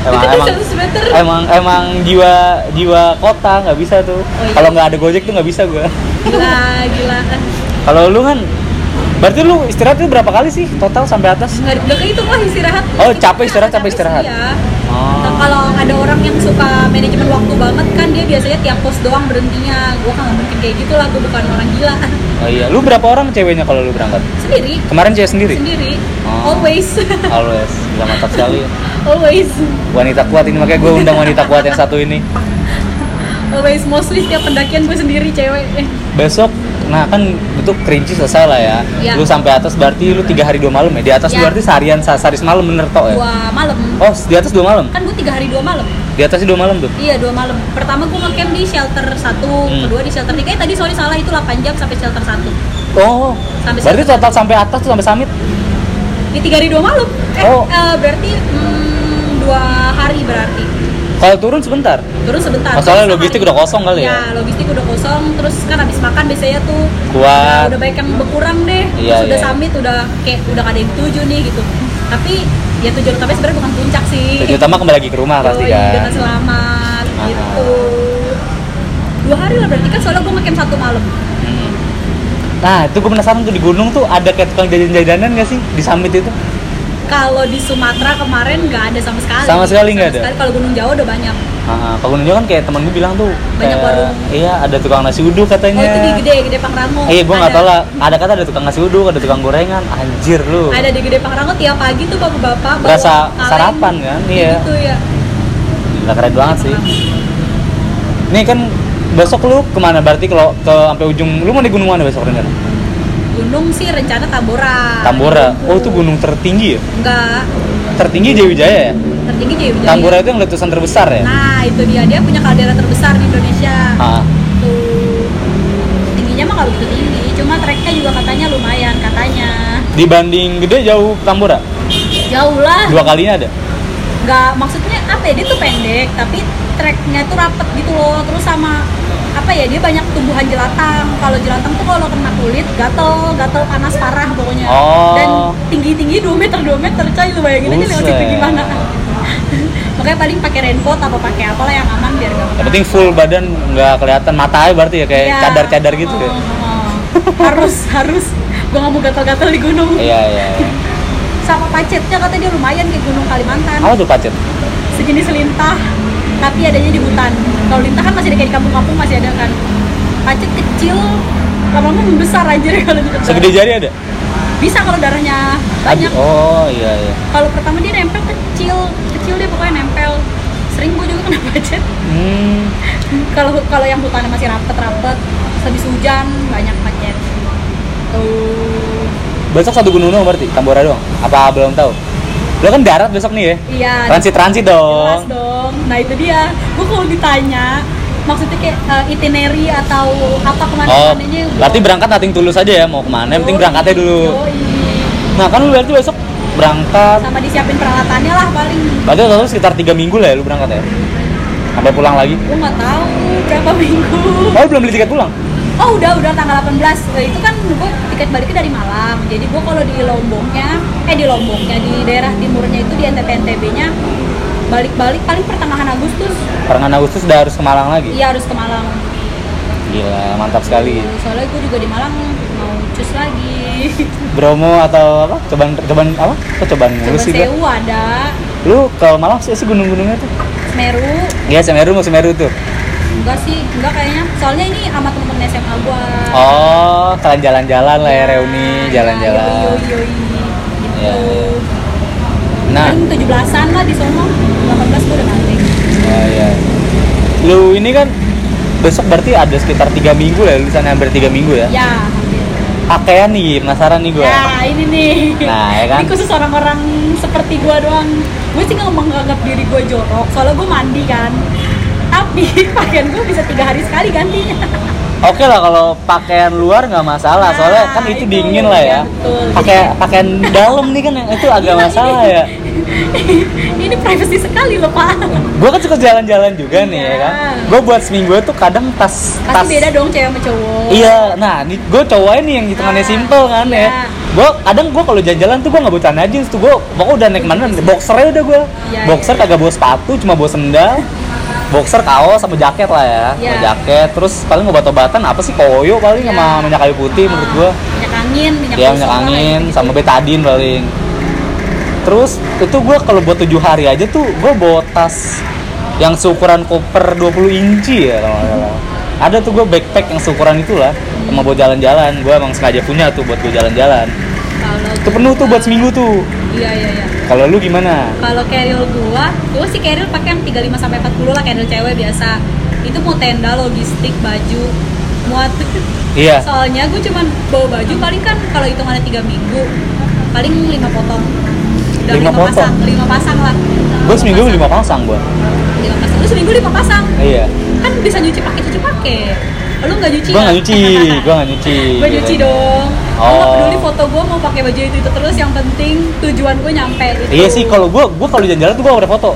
Speaker 1: emang emang
Speaker 2: 100 meter
Speaker 1: emang emang jiwa jiwa kota nggak bisa tuh.
Speaker 2: iya.
Speaker 1: Kalau nggak ada Gojek tuh nggak bisa gua.
Speaker 2: gila gila
Speaker 1: [laughs] Kalau lu kan berarti lu istirahat tuh berapa kali sih total sampai atas?
Speaker 2: nggak nggak kehitung lah istirahat
Speaker 1: Oh,
Speaker 2: Kita
Speaker 1: capek
Speaker 2: kan
Speaker 1: istirahat,
Speaker 2: agak
Speaker 1: capek istirahat.
Speaker 2: sih ya.
Speaker 1: Oh.
Speaker 2: Nah, kalau ada orang yang suka manajemen waktu banget kan dia biasanya tiap pos doang berhentinya gue kan nggak mungkin kayak gitu lah gue bukan orang gila [laughs]
Speaker 1: Oh iya, lu berapa orang ceweknya kalau lu berangkat?
Speaker 2: sendiri
Speaker 1: Kemarin cewek sendiri.
Speaker 2: sendiri
Speaker 1: Oh.
Speaker 2: always [laughs]
Speaker 1: Always, gila mantap sekali.
Speaker 2: always
Speaker 1: Wanita kuat ini makanya gue undang wanita kuat yang satu ini.
Speaker 2: always mostly setiap pendakian gue sendiri cewek Eh,
Speaker 1: Besok, nah kan itu kerinci selesai lah ya.
Speaker 2: Iya.
Speaker 1: Lu sampai atas berarti lu tiga hari dua malam ya. Di atas
Speaker 2: Iya.
Speaker 1: berarti seharian sa- sehari semalam bener toh ya.
Speaker 2: dua malam
Speaker 1: Oh, di atas dua malam.
Speaker 2: kan gue tiga hari dua malam
Speaker 1: Di atas dua malam tuh.
Speaker 2: Iya dua malam. Pertama gue ngecamp di shelter satu,
Speaker 1: Hmm.
Speaker 2: kedua di shelter tiga. Eh tadi sorry salah itu 8 jam sampai shelter satu.
Speaker 1: Oh.
Speaker 2: Sampai
Speaker 1: berarti
Speaker 2: situ.
Speaker 1: total sampai atas tuh sampai summit.
Speaker 2: Di tiga hari dua malam. Eh,
Speaker 1: Oh.
Speaker 2: eh, berarti hmm, dua hari berarti.
Speaker 1: Kalau turun sebentar.
Speaker 2: Turun sebentar.
Speaker 1: Masalahnya
Speaker 2: Terus
Speaker 1: logistik
Speaker 2: sehari.
Speaker 1: udah kosong kali ya?
Speaker 2: Iya logistik udah kosong. Terus kan habis makan biasanya tuh nah,
Speaker 1: Kuat.
Speaker 2: udah baik yang berkurang deh.
Speaker 1: Ah. Iya,
Speaker 2: Terus udah
Speaker 1: iya.
Speaker 2: summit udah kayak udah nggak ada yang tuju nih gitu. Tapi ya tujuan utamanya sebenarnya bukan puncak sih.
Speaker 1: Tujuan utama kembali lagi ke rumah pasti
Speaker 2: Yoi,
Speaker 1: kan.
Speaker 2: Dengan selamat
Speaker 1: Ah.
Speaker 2: gitu. Dua hari lah berarti kan soalnya gue ngecamp satu malam.
Speaker 1: Hmm. Nah, itu gue penasaran tuh di gunung tuh ada kayak tukang jajan-jajanan gak sih di summit itu?
Speaker 2: Kalau di Sumatera kemarin nggak ada sama sekali.
Speaker 1: Sama sekali nggak ada?
Speaker 2: sekali. Kalau Gunung Jawa udah banyak.
Speaker 1: Ah, kalau gunung Jawa kan kayak temen gue bilang tuh
Speaker 2: Banyak
Speaker 1: kayak,
Speaker 2: warung.
Speaker 1: Iya, ada tukang nasi uduk
Speaker 2: Oh
Speaker 1: katanya.
Speaker 2: itu di Gede, Gede Pangrango.
Speaker 1: Eh, gue nggak
Speaker 2: Ada-
Speaker 1: tahu lah. Ada kata ada tukang nasi uduk, ada tukang gorengan. Anjir lu.
Speaker 2: Ada di Gede Pangrango tiap pagi tuh bapak-bapak. bawa
Speaker 1: Berasa
Speaker 2: kaleng.
Speaker 1: sarapan kan?
Speaker 2: Kayak
Speaker 1: Iya.
Speaker 2: Gitu ya.
Speaker 1: Gila keren banget sih. Nih kan besok lu kemana? Berarti kalau ke sampai ujung, lu mau di gunung mana besok rencana?
Speaker 2: Ah. Gunung sih rencana Tambora.
Speaker 1: Tambora. Oh itu gunung tertinggi ya?
Speaker 2: Enggak.
Speaker 1: Tertinggi Jayawijaya ya?
Speaker 2: Tertinggi Jaya
Speaker 1: Tambora itu yang letusan terbesar ya?
Speaker 2: Nah itu dia dia punya kaldera terbesar di Indonesia.
Speaker 1: Ah,
Speaker 2: Tuh. Tingginya mah nggak begitu tinggi, cuma treknya juga katanya lumayan katanya.
Speaker 1: dibanding gede jauh Tambora?
Speaker 2: Jauh lah.
Speaker 1: Dua kalinya ada?
Speaker 2: nggak maksudnya apa ya dia tuh pendek tapi treknya tuh rapet gitu loh terus sama apa ya dia banyak tumbuhan jelatang kalau jelatang tuh kalau kena kulit gatel gatel panas parah pokoknya
Speaker 1: Oh.
Speaker 2: dan tinggi tinggi 2 meter 2 meter coy lu bayangin aja lewat situ
Speaker 1: Buset.
Speaker 2: gimana [laughs] makanya paling pakai raincoat apa pakai apalah yang aman biar nggak
Speaker 1: Yang
Speaker 2: kena.
Speaker 1: penting full badan nggak kelihatan mata aja berarti ya kayak
Speaker 2: Iya.
Speaker 1: cadar-cadar gitu ya?
Speaker 2: Oh, oh. harus harus gua nggak mau gatel-gatel di gunung
Speaker 1: Iya, iya. iya.
Speaker 2: sama pacetnya katanya dia lumayan kayak gunung Kalimantan
Speaker 1: Apa tuh pacet?
Speaker 2: sejenis lintah tapi adanya di hutan kalau lintah kan masih ada kayak di kampung-kampung masih ada kan pacet kecil lama-lama membesar aja [laughs] kalau ditebar.
Speaker 1: Segede jari ada?
Speaker 2: bisa kalau darahnya banyak
Speaker 1: Ada. Oh iya, iya.
Speaker 2: kalau pertama dia nempel kecil kecil dia pokoknya nempel sering gue juga kena [laughs] pacet
Speaker 1: Hmm.
Speaker 2: kalau kalau yang hutannya masih rapet-rapet terus habis hujan banyak pacet tuh
Speaker 1: Besok satu gunung doang berarti? Tambora doang? Apa belum tahu? Lo kan darat besok nih ya?
Speaker 2: Iya.
Speaker 1: Transit-transit dong.
Speaker 2: Jelas dong. Nah itu dia. Gue kalau ditanya maksudnya kayak eh, itinerary atau apa
Speaker 1: Oh,
Speaker 2: kemana-mananya. gua-
Speaker 1: berarti berangkat nating tulus aja ya mau kemana? Yang penting
Speaker 2: Yoi,
Speaker 1: berangkatnya dulu.
Speaker 2: yoi.
Speaker 1: Nah kan lu berarti besok berangkat.
Speaker 2: Sama disiapin peralatannya lah paling.
Speaker 1: Berarti total sekitar tiga minggu lah ya lu berangkat ya? Sampai pulang lagi?
Speaker 2: Gue nggak tahu berapa minggu.
Speaker 1: Oh lu belum beli tiket pulang?
Speaker 2: Oh udah udah tanggal 18 Eh, itu kan gue tiket baliknya dari Malang jadi gue kalau di Lomboknya eh di Lomboknya di daerah timurnya itu di NTT NTB nya balik-balik paling pertengahan Agustus
Speaker 1: Pertengahan Agustus udah harus ke Malang lagi.
Speaker 2: iya harus ke Malang
Speaker 1: Gila, mantap sekali.
Speaker 2: soalnya gue juga di Malang mau cus lagi
Speaker 1: Bromo atau apa? Cobaan cobaan apa? Kok cobaan mulu
Speaker 2: coba
Speaker 1: sih gua?
Speaker 2: Sewu ada
Speaker 1: Lu ke Malang sih sih gunung-gunungnya tuh?
Speaker 2: Meru
Speaker 1: Iya, Semeru mau Semeru tuh.
Speaker 2: enggak sih enggak kayaknya soalnya ini sama temen-temen SMA gue
Speaker 1: Oh, kalian jalan-jalan lah ya reuni,
Speaker 2: yo
Speaker 1: jalan-jalan.
Speaker 2: yo
Speaker 1: Iya, iya.
Speaker 2: iya, gitu
Speaker 1: Nah,
Speaker 2: paling 17-an lah di sono 18 gue udah balik
Speaker 1: oh iya. Lu ini kan besok berarti ada sekitar tiga minggu lah, ya, lulusan hampir tiga minggu ya.
Speaker 2: ya hampir
Speaker 1: Pakaian nih, penasaran nih gue.
Speaker 2: Ya, ini nih.
Speaker 1: Nah, ya kan?
Speaker 2: Ini khusus orang-orang seperti gua doang. Gue sih nggak menganggap diri gua jorok, soalnya gua mandi kan. Tapi [laughs] pakaian gua bisa tiga hari sekali ganti. [laughs]
Speaker 1: Oke lah kalau pakaian luar nggak masalah,
Speaker 2: Nah,
Speaker 1: soalnya kan itu
Speaker 2: itu,
Speaker 1: dingin lah ya.
Speaker 2: iya, betul. Iya,
Speaker 1: Pakai pakaian dalam nih kan yang itu agak
Speaker 2: Gila,
Speaker 1: masalah
Speaker 2: ini-
Speaker 1: ya.
Speaker 2: ini privacy sekali loh pak.
Speaker 1: Gue kan suka jalan-jalan juga nih ya
Speaker 2: Iya.
Speaker 1: kan. Gue buat seminggu tuh kadang tas tas
Speaker 2: Pasti beda dong cewek sama cowok.
Speaker 1: Iya, nah gue cowoknya nih yang hitungannya
Speaker 2: Oh. Ah,
Speaker 1: simple kan ya.
Speaker 2: iya.
Speaker 1: Gue kadang gue kalau jalan-jalan tuh gue nggak bawa celana jeans tuh gue pokoknya udah naik mana boxernya udah gue.
Speaker 2: Iya,
Speaker 1: boxer
Speaker 2: iya.
Speaker 1: kagak bawa sepatu, cuma bawa sendal. boxer kaos sama jaket lah ya,
Speaker 2: Iya.
Speaker 1: sama jaket. Terus paling obat-obatan apa sih koyo paling
Speaker 2: Iya.
Speaker 1: sama minyak kayu putih menurut gue.
Speaker 2: Minyak angin, minyak
Speaker 1: Dia
Speaker 2: kusut
Speaker 1: minyak
Speaker 2: lah,
Speaker 1: angin
Speaker 2: gitu.
Speaker 1: sama betadine paling. Terus itu gue kalau buat tujuh hari aja tuh gue bawa tas yang seukuran koper 20 inci ya kalau nggak salah. Ada tuh gue backpack yang seukuran itulah sama buat jalan-jalan. Gue emang sengaja punya tuh buat gue jalan-jalan.
Speaker 2: Kalau
Speaker 1: Itu penuh tuh buat seminggu tuh.
Speaker 2: Iya iya iya.
Speaker 1: Kalau lu gimana?
Speaker 2: Kalau carrier gua, gua sih carrier pakai yang 35 sampai 40 lah carrier cewek biasa. Itu mau tenda, logistik, baju,
Speaker 1: [laughs]
Speaker 2: muat.
Speaker 1: Iya.
Speaker 2: Soalnya gua cuman bawa baju paling kan kalau hitungannya 3 minggu, paling 5 potong. Udah
Speaker 1: Lima
Speaker 2: lima
Speaker 1: potong?
Speaker 2: pasang, 5 pasang lah.
Speaker 1: Gue seminggu lima pasang gue.
Speaker 2: 5 pasang. Lu seminggu 5 pasang.
Speaker 1: Iya.
Speaker 2: Kan bisa nyuci pakai cuci pakai. Lu nggak nyuci?
Speaker 1: Gue nggak
Speaker 2: ya? [laughs]
Speaker 1: nyuci, gue nggak nyuci.
Speaker 2: Gua nyuci dong. Gua nggak
Speaker 1: Oh.
Speaker 2: peduli foto gua mau pakai baju itu, itu terus yang penting tujuan gua nyampe gitu.
Speaker 1: Iya sih kalau gue gue kalau jalan-jalan tuh gue udah foto.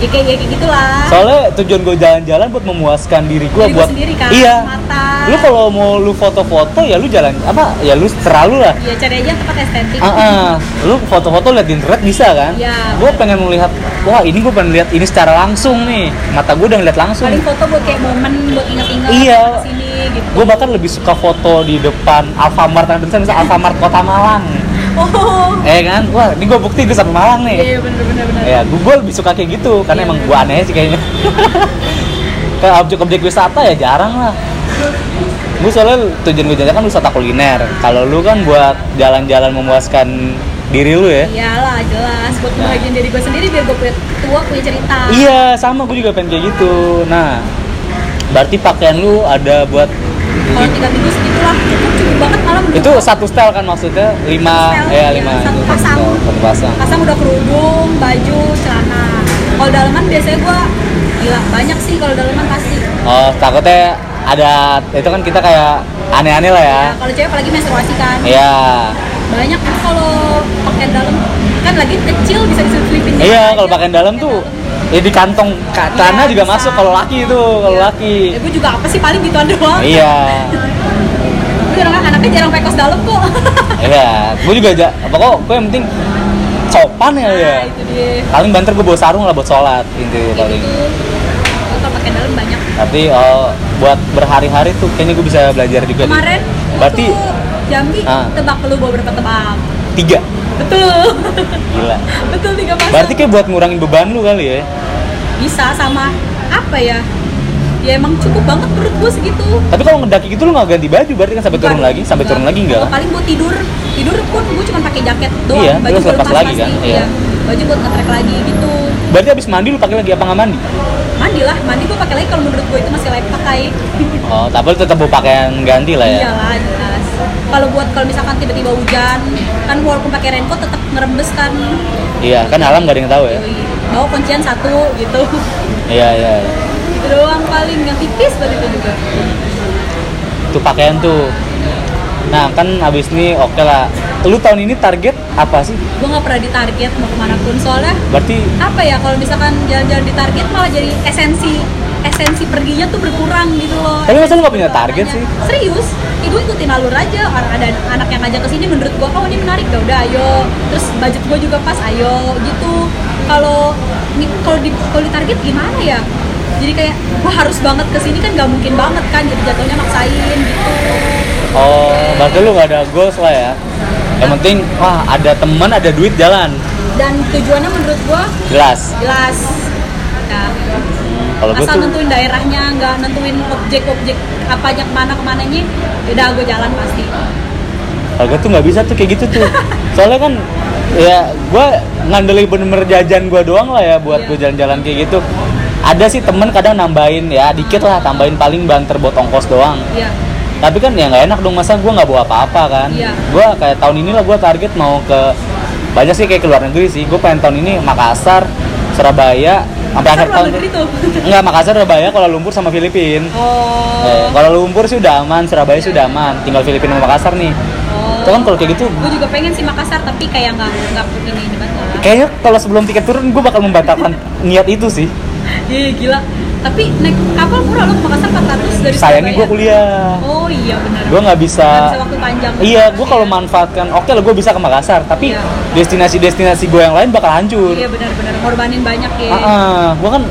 Speaker 2: Ya kayak ya kayak gitulah.
Speaker 1: Soalnya tujuan gue jalan-jalan buat memuaskan diri gue
Speaker 2: Diri gua
Speaker 1: buat
Speaker 2: sendiri kan,
Speaker 1: iya.
Speaker 2: mata.
Speaker 1: Lu kalau mau lu foto-foto ya lu jalan apa ya lu terlalu lah.
Speaker 2: Iya cari aja tempat estetik.
Speaker 1: Ah, ah. lu foto-foto lihat di internet bisa kan?
Speaker 2: Iya.
Speaker 1: Gue pengen melihat wah ini gue pengen lihat ini secara langsung nih. Mata gue udah ngeliat langsung.
Speaker 2: Paling foto buat kayak momen buat inget-inget
Speaker 1: Iya.
Speaker 2: sini gitu.
Speaker 1: Gue bahkan lebih suka foto di depan Alfamart yang tulisan misalnya Alfamart Kota
Speaker 2: [laughs]
Speaker 1: Malang.
Speaker 2: Oh.
Speaker 1: Eh kan? Wah, ini gue bukti gue sama Malang nih.
Speaker 2: Iya bener bener bener.
Speaker 1: Ya, gue gue lebih suka kayak gitu karena
Speaker 2: Iya,
Speaker 1: emang
Speaker 2: bener.
Speaker 1: gue aneh sih
Speaker 2: [laughs]
Speaker 1: kayaknya. Kayak objek-objek wisata ya jarang lah. Gue soalnya tujuan gue jalan kan wisata kuliner. Kalau lu kan buat jalan-jalan memuaskan diri lu ya.
Speaker 2: Iyalah jelas buat kebahagiaan diri gue sendiri biar gue punya tua punya cerita.
Speaker 1: Iya, sama gue juga pengen kayak gitu. Nah, berarti pakaian lu ada buat
Speaker 2: Kalau tiga minggu segitulah cukup cukup banget malam.
Speaker 1: itu satu style kan maksudnya lima
Speaker 2: Satu style,
Speaker 1: ya
Speaker 2: iya.
Speaker 1: lima Oh,
Speaker 2: Satu pasang.
Speaker 1: satu pasang
Speaker 2: pasang udah kerudung, baju, celana. Kalau daleman biasanya gue gila banyak sih kalau daleman pasti.
Speaker 1: oh takutnya ada itu kan kita kayak aneh-aneh lah ya
Speaker 2: Nah, kalau cewek apalagi menstruasi kan.
Speaker 1: iya
Speaker 2: Banyak kan kalau pakaian dalam kan lagi kecil bisa diselipin. di
Speaker 1: Iya,
Speaker 2: mana
Speaker 1: kalau
Speaker 2: aja.
Speaker 1: pakaian dalam tuh ya di kantong ka- celana
Speaker 2: Iya,
Speaker 1: juga
Speaker 2: bisa.
Speaker 1: masuk kalau laki itu, kalau
Speaker 2: Iya.
Speaker 1: laki.
Speaker 2: Ya, gue juga apa sih paling gituan doang.
Speaker 1: Iya.
Speaker 2: Gue jarang anaknya jarang pakai kaos dalam kok.
Speaker 1: Iya, gue juga aja. Pokok gue yang penting sopan ya ya.
Speaker 2: [laughs] Nah, itu dia.
Speaker 1: Paling banter gue bawa sarung lah buat sholat gitu
Speaker 2: Itu
Speaker 1: paling.
Speaker 2: tuh. Gue kalau pakai dalam banyak.
Speaker 1: Tapi oh, buat berhari-hari tuh kayaknya gue bisa belajar juga. nih.
Speaker 2: Kemarin
Speaker 1: Berarti
Speaker 2: waktu Jambi
Speaker 1: Ah.
Speaker 2: tebak lu bawa berapa tebak.
Speaker 1: tiga.
Speaker 2: Betul. [laughs]
Speaker 1: Gila.
Speaker 2: Betul tiga pasang.
Speaker 1: Berarti kayak buat ngurangin beban lu kali ya.
Speaker 2: bisa sama apa ya? Ya emang cukup banget menurut gue segitu.
Speaker 1: Tapi kalau ngedaki gitu lu nggak ganti baju berarti kan sampai turun
Speaker 2: Bukan.
Speaker 1: lagi, sampai turun lagi enggak
Speaker 2: Kalau
Speaker 1: kan?
Speaker 2: Paling gue tidur, tidur pun gue cuma pakai jaket doang.
Speaker 1: Iya, terus
Speaker 2: gua
Speaker 1: lepas
Speaker 2: lepas
Speaker 1: lagi kan?
Speaker 2: pasti,
Speaker 1: Iya.
Speaker 2: Iya. Baju buat ngetrek lagi gitu.
Speaker 1: Berarti abis mandi lu pakai lagi apa nggak mandi?
Speaker 2: Mandi lah, mandi gue pakai lagi kalau menurut gue itu masih layak pakai.
Speaker 1: Oh, tapi lu tetap bawa pakaian ganti lah ya.
Speaker 2: Iyalah Iya kan, jelas. kalau buat kalau misalkan tiba-tiba hujan kan walaupun pakai raincoat tetap ngerembes kan
Speaker 1: Iya, kan alam gak ada yang tahu ya.
Speaker 2: Yoi. bawa kuncian satu gitu [laughs]
Speaker 1: Iya, iya. iya.
Speaker 2: itu doang paling yang tipis banget itu juga
Speaker 1: Itu pakaian tuh. Nah, kan abis ini oke lah. Lu tahun ini target apa sih?
Speaker 2: gue nggak pernah ditarget mau kemana pun soalnya
Speaker 1: Berarti
Speaker 2: apa ya kalau misalkan jalan-jalan di target malah jadi esensi esensi perginya tuh berkurang gitu loh.
Speaker 1: Tapi masa lu nggak punya target
Speaker 2: Makanya-
Speaker 1: sih?
Speaker 2: Serius, eh, gue ikutin alur aja. Orang ada anak yang ngajak ke sini menurut gue, oh ini menarik, ya udah ayo. Terus budget gue juga pas, ayo gitu. Kalau ini kalau di kalau di target gimana ya? Jadi kayak wah harus banget ke sini kan nggak mungkin banget kan jadi jatuhnya maksain gitu.
Speaker 1: oh, berarti lu gak ada goals lah ya. Yang penting wah ada teman, ada duit jalan.
Speaker 2: Dan tujuannya menurut gue
Speaker 1: Jelas.
Speaker 2: jelas. Ya,
Speaker 1: Kalau gue
Speaker 2: asal
Speaker 1: tuh
Speaker 2: nentuin daerahnya nggak nentuin objek-objek apanya kemana kemananya ya udah gue jalan pasti
Speaker 1: kalau gue tuh nggak bisa tuh kayak gitu tuh soalnya kan ya gue ngandelin bener-bener jajan gue doang lah ya buat
Speaker 2: Iya.
Speaker 1: gue jalan-jalan kayak gitu ada sih temen kadang nambahin ya dikit lah tambahin paling banter buat ongkos doang
Speaker 2: iya
Speaker 1: tapi kan ya nggak enak dong masa gue nggak bawa apa-apa kan
Speaker 2: Iya.
Speaker 1: gue kayak tahun ini lah gue target mau ke banyak sih kayak ke luar negeri sih gue pengen tahun ini Makassar Surabaya sampai
Speaker 2: Makassar
Speaker 1: akhir
Speaker 2: luar
Speaker 1: tahun
Speaker 2: negeri tuh [laughs]
Speaker 1: Enggak, Makassar, Surabaya, Kuala Lumpur sama Filipina. Eh,
Speaker 2: oh
Speaker 1: Kuala Lumpur sih udah aman, Surabaya sih udah aman. Tinggal Filipina sama Makassar nih. Itu kan kalau kayak gitu
Speaker 2: gue Oh. juga pengen sih Makassar tapi kayak nggak nggak ini ini banget
Speaker 1: Kayaknya kalau sebelum tiket turun gue bakal membatalkan niat itu sih.
Speaker 2: iya gila tapi naik kapal murah lo ke Makassar 400 dari
Speaker 1: Sayangnya gue
Speaker 2: Surabaya.
Speaker 1: kuliah.
Speaker 2: oh iya benar
Speaker 1: Gue nggak
Speaker 2: Nggak
Speaker 1: bisa.
Speaker 2: bisa waktu panjang
Speaker 1: Iya, gue kalau manfaatkan, oke lah gue bisa ke Makassar, tapi
Speaker 2: Iya.
Speaker 1: destinasi-destinasi gue yang lain bakal hancur.
Speaker 2: iya benar-benar korbanin banyak ya
Speaker 1: gue kan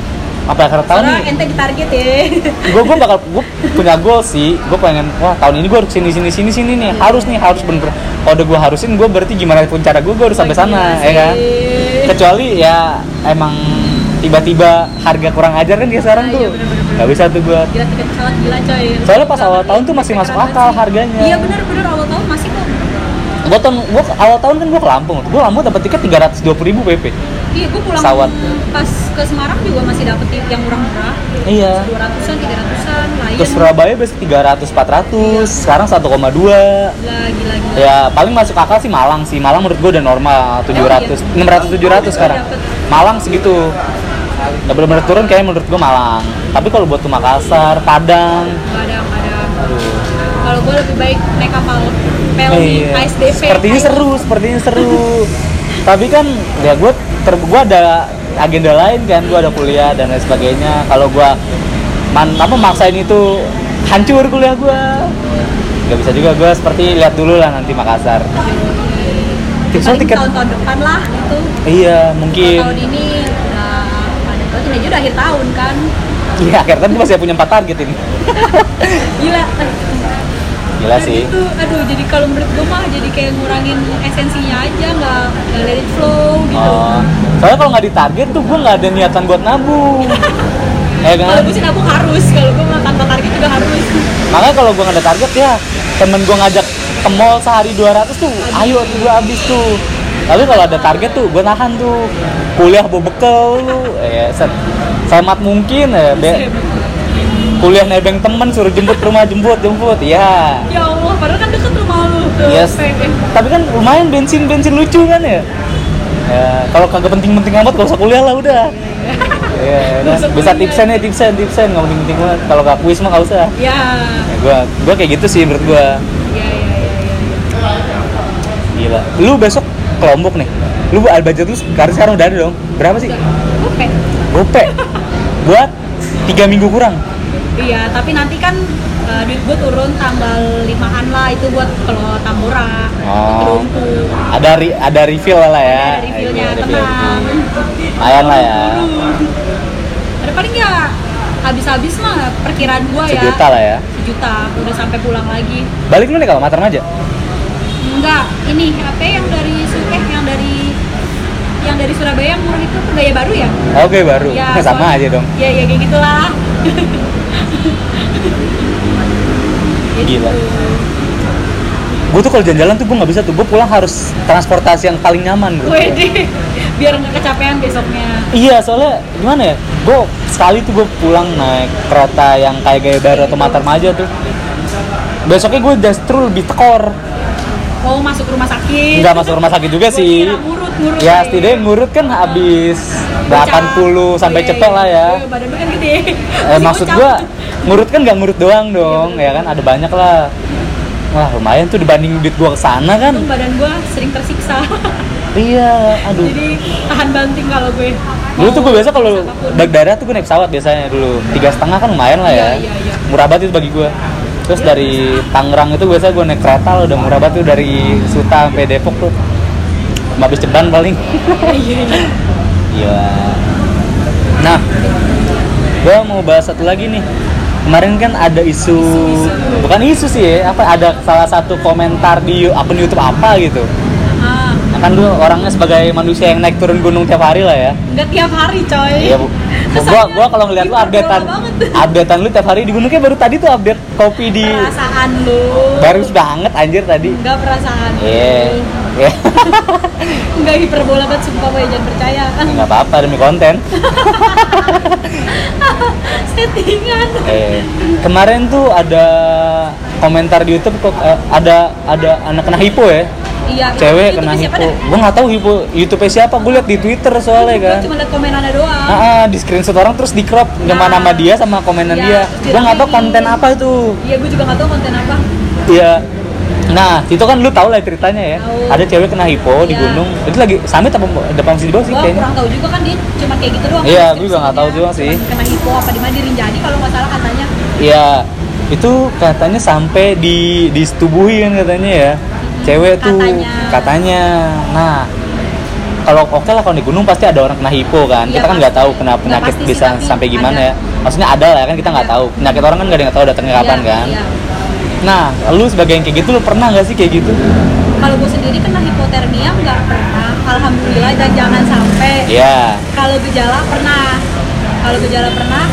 Speaker 1: apa akhir tahun
Speaker 2: Soalnya ente ditarget ya
Speaker 1: gue gue bakal gue punya goal sih gue pengen wah tahun ini gue harus sini sini sini sini nih harus nih harus bener kalau udah gue harusin gue berarti gimana pun cara gue gue harus sampai
Speaker 2: Wah, gila
Speaker 1: sana ya kan
Speaker 2: Iya sih.
Speaker 1: kecuali ya emang tiba-tiba harga kurang ajar kan dia sekarang
Speaker 2: Iya,
Speaker 1: tuh
Speaker 2: bener-bener. Iya.
Speaker 1: nggak bisa tuh gue
Speaker 2: gila tiket pesawat gila coy
Speaker 1: Soalnya pas awal tahun tuh masih masuk akal harganya.
Speaker 2: iya benar benar awal tahun masih kok
Speaker 1: gue tahun gua awal tahun kan gue ke Lampung gue Lampung dapat tiket tiga ratus dua ribu pp
Speaker 2: iya gue pulang
Speaker 1: Pesawat.
Speaker 2: pas ke Semarang juga masih dapet yang murah-murah
Speaker 1: iya
Speaker 2: dua ratusan tiga ratusan lain
Speaker 1: ke Surabaya biasa tiga ratus empat ratus sekarang 1,2
Speaker 2: gila gila gila
Speaker 1: ya paling masuk akal sih Malang sih Malang menurut gue udah normal 700
Speaker 2: Oh, iya.
Speaker 1: 600 700 sekarang
Speaker 2: Dapet.
Speaker 1: Malang segitu udah bener-bener turun kayaknya menurut gue Malang tapi kalau buat ke Makassar Padang
Speaker 2: kadang kadang
Speaker 1: aduh
Speaker 2: kalau gue lebih baik naik kapal Pelni
Speaker 1: Iya.
Speaker 2: ASDP
Speaker 1: Sepertinya
Speaker 2: kayak-
Speaker 1: seru, sepertinya
Speaker 2: [laughs]
Speaker 1: seru. Tapi kan ya gue ter gua ada agenda lain kan, gue ada kuliah dan lain sebagainya. Kalau gue man apa maksain itu hancur kuliah gue. Gak bisa juga gue seperti lihat dulu lah nanti Makassar. Soalnya
Speaker 2: Paling
Speaker 1: tiket
Speaker 2: tahun-tahun depan lah itu
Speaker 1: iya mungkin.
Speaker 2: tahun ini udah ada tahun ini aja udah akhir tahun kan
Speaker 1: Iya akhirnya gue masih punya empat target ini.
Speaker 2: gila
Speaker 1: Gila
Speaker 2: Dan
Speaker 1: Iya sih.
Speaker 2: itu, aduh, jadi kalau menurut gue mah jadi kayak ngurangin esensinya aja, nggak nggak let it flow gitu.
Speaker 1: Oh, soalnya kalau nggak ditarget tuh gue nggak ada niatan buat nabung. Ya kan?
Speaker 2: Kalau gue sih nabung harus, kalau gue mah tanpa target juga harus.
Speaker 1: makanya kalau gue nggak ada target ya temen gue ngajak ke mall sehari 200 tuh ayo tuh gue habis tuh tapi kalau ada target tuh gue nahan tuh kuliah bobekel lu ya set semat mungkin ya be- kuliah nebeng temen suruh jemput ke rumah jemput jemput ya
Speaker 2: Ya Allah, padahal kan deket rumah lu tuh.
Speaker 1: Yes. tapi kan lumayan bensin bensin lucu kan ya ya kalau kagak penting-penting amat gak usah kuliah lah udah ya,
Speaker 2: Nggak usah
Speaker 1: bisa
Speaker 2: kuliah.
Speaker 1: tipsen ya tipsen tipsen nggak penting-penting banget kalau gak kuis mah gak usah
Speaker 2: Ya,
Speaker 1: gue gue kayak gitu sih menurut gue
Speaker 2: ya, ya, ya, ya.
Speaker 1: Gila. Lu besok kelompok nih. Lu ada budget lu sekarang sekarang udah ada dong. Berapa sih?
Speaker 2: Oke.
Speaker 1: Gope. Buat tiga minggu kurang.
Speaker 2: Iya, tapi nanti kan eh, duit gue turun tanggal limaan lah itu buat kalau tambora,
Speaker 1: Oh.
Speaker 2: kerumpu,
Speaker 1: Ada re- ada refill lah ya.
Speaker 2: ada reviewnya
Speaker 1: Ada refill.
Speaker 2: tenang.
Speaker 1: Lumayan lah ya.
Speaker 2: Ada paling ya habis-habis mah perkiraan gue ya.
Speaker 1: Sejuta lah ya.
Speaker 2: sejuta udah sampai pulang lagi
Speaker 1: Balik lu nih kalau Mataram aja.
Speaker 2: enggak ini apa yang dari Su- eh yang dari yang dari Surabaya yang murah itu tuh gaya baru ya
Speaker 1: Oke baru. [laughs] sama
Speaker 2: soalnya-
Speaker 1: aja dong.
Speaker 2: ya ya kayak
Speaker 1: [laughs]
Speaker 2: gitulah Gitu.
Speaker 1: Gila. Gue tuh kalau jalan-jalan tuh gue nggak bisa tuh. Gue pulang harus transportasi yang paling nyaman. bro.
Speaker 2: Wede, biar nggak kecapean besoknya.
Speaker 1: Iya soalnya gimana ya, gue sekali tuh gue pulang naik kereta yang kayak gaya baru atau Matarmaja tuh besoknya gue justru lebih tekor
Speaker 2: mau masuk rumah sakit
Speaker 1: nggak masuk rumah sakit juga
Speaker 2: Gua
Speaker 1: sih
Speaker 2: kira ngurut ngurut
Speaker 1: ya setidaknya ngurut kan habis 80 sampai cepet lah ya
Speaker 2: badan lu kan gede
Speaker 1: eh, maksud
Speaker 2: gue
Speaker 1: gua ngurut kan nggak ngurut
Speaker 2: Iya,
Speaker 1: doang dong ya kan ada banyak lah wah lumayan tuh dibanding duit gua kesana kan
Speaker 2: badan gua sering tersiksa [laughs]
Speaker 1: iya aduh
Speaker 2: jadi tahan banting kalau gue
Speaker 1: dulu tuh gue biasa kalau
Speaker 2: Siapapun.
Speaker 1: balik daerah tuh gue naik pesawat biasanya dulu tiga setengah kan lumayan lah ya
Speaker 2: Iya, iya, iya.
Speaker 1: murah banget itu bagi gue terus dari Tangerang itu biasa gue naik kereta loh udah murah banget tuh dari Suta sampai Depok tuh habis ceban paling
Speaker 2: Iya, iya.
Speaker 1: Iya. Nah, gue mau bahas satu lagi nih. Kemarin kan ada isu,
Speaker 2: Isu-isu.
Speaker 1: bukan isu sih ya, apa ada salah satu komentar di you- akun YouTube apa gitu.
Speaker 2: Ah,
Speaker 1: Nah, Kan lu orangnya sebagai manusia yang naik turun gunung tiap hari lah ya.
Speaker 2: nggak tiap hari coy
Speaker 1: Iya, Bu. Gua
Speaker 2: Kesannya
Speaker 1: gua kalau ngeliat lu updatean,
Speaker 2: hiperbola banget.
Speaker 1: updatean lu tiap hari di gunung kayak baru tadi tuh update kopi di
Speaker 2: perasaan lu
Speaker 1: Iya. baru banget anjir tadi.
Speaker 2: nggak perasaan lu.
Speaker 1: Iya. Iya. [laughs]
Speaker 2: nggak hiperbola banget sumpah gue jangan percaya [laughs]
Speaker 1: Enggak apa-apa demi konten.
Speaker 2: settingan
Speaker 1: Eh, kemarin tuh ada komentar di YouTube kok eh, ada ada anak kena hipo ya.
Speaker 2: iya
Speaker 1: Cewek
Speaker 2: itu
Speaker 1: kena
Speaker 2: siapa
Speaker 1: hipo.
Speaker 2: dah?
Speaker 1: Gua nggak tahu hipo YouTube siapa, gua liat di Twitter soalnya
Speaker 2: Gua
Speaker 1: kan.
Speaker 2: cuma liat komenannya doang
Speaker 1: Ah, ah, di screenshot orang terus di crop cuma
Speaker 2: Nah.
Speaker 1: nama dia sama komenan
Speaker 2: Ya,
Speaker 1: dia.
Speaker 2: terus
Speaker 1: Gua nggak tahu
Speaker 2: diramein.
Speaker 1: konten apa itu.
Speaker 2: iya gue juga nggak tahu konten apa
Speaker 1: Iya. Nah, itu kan lu tahu lah ceritanya ya.
Speaker 2: Tahu.
Speaker 1: Ada cewek kena hipo di
Speaker 2: Iya.
Speaker 1: gunung. Itu lagi summit apa depan sini bawah sih
Speaker 2: gue
Speaker 1: kayaknya.
Speaker 2: kurang tahu juga kan dia cuma kayak gitu doang
Speaker 1: Iya,
Speaker 2: kan,
Speaker 1: gua juga nggak tahu
Speaker 2: deskripsinya.
Speaker 1: juga sih.
Speaker 2: Cuman kena hipo apa di mana di Rinjani kalau nggak salah katanya
Speaker 1: Iya, itu katanya sampai di disetubuhi kan katanya ya. Cewek tuh
Speaker 2: Katanya.
Speaker 1: katanya. Nah, kalau oke lah kalau di gunung pasti ada orang kena hipo kan.
Speaker 2: Iya,
Speaker 1: kita kan nggak
Speaker 2: pasti.
Speaker 1: tahu kenapa
Speaker 2: Nggak
Speaker 1: penyakit
Speaker 2: pasti sih,
Speaker 1: bisa
Speaker 2: tapi
Speaker 1: sampai gimana
Speaker 2: ada.
Speaker 1: ya. Maksudnya ada lah ya kan kita nggak
Speaker 2: Iya.
Speaker 1: tahu. Penyakit orang kan nggak ada yang tahu datangnya kapan
Speaker 2: Iya,
Speaker 1: kan.
Speaker 2: iya.
Speaker 1: Nah, lu sebagai yang kayak gitu lu pernah nggak sih kayak gitu?
Speaker 2: kalau gue sendiri kena hipotermia nggak pernah alhamdulillah dan jangan sampai
Speaker 1: Iya.
Speaker 2: kalau gejala pernah kalau gejala pernah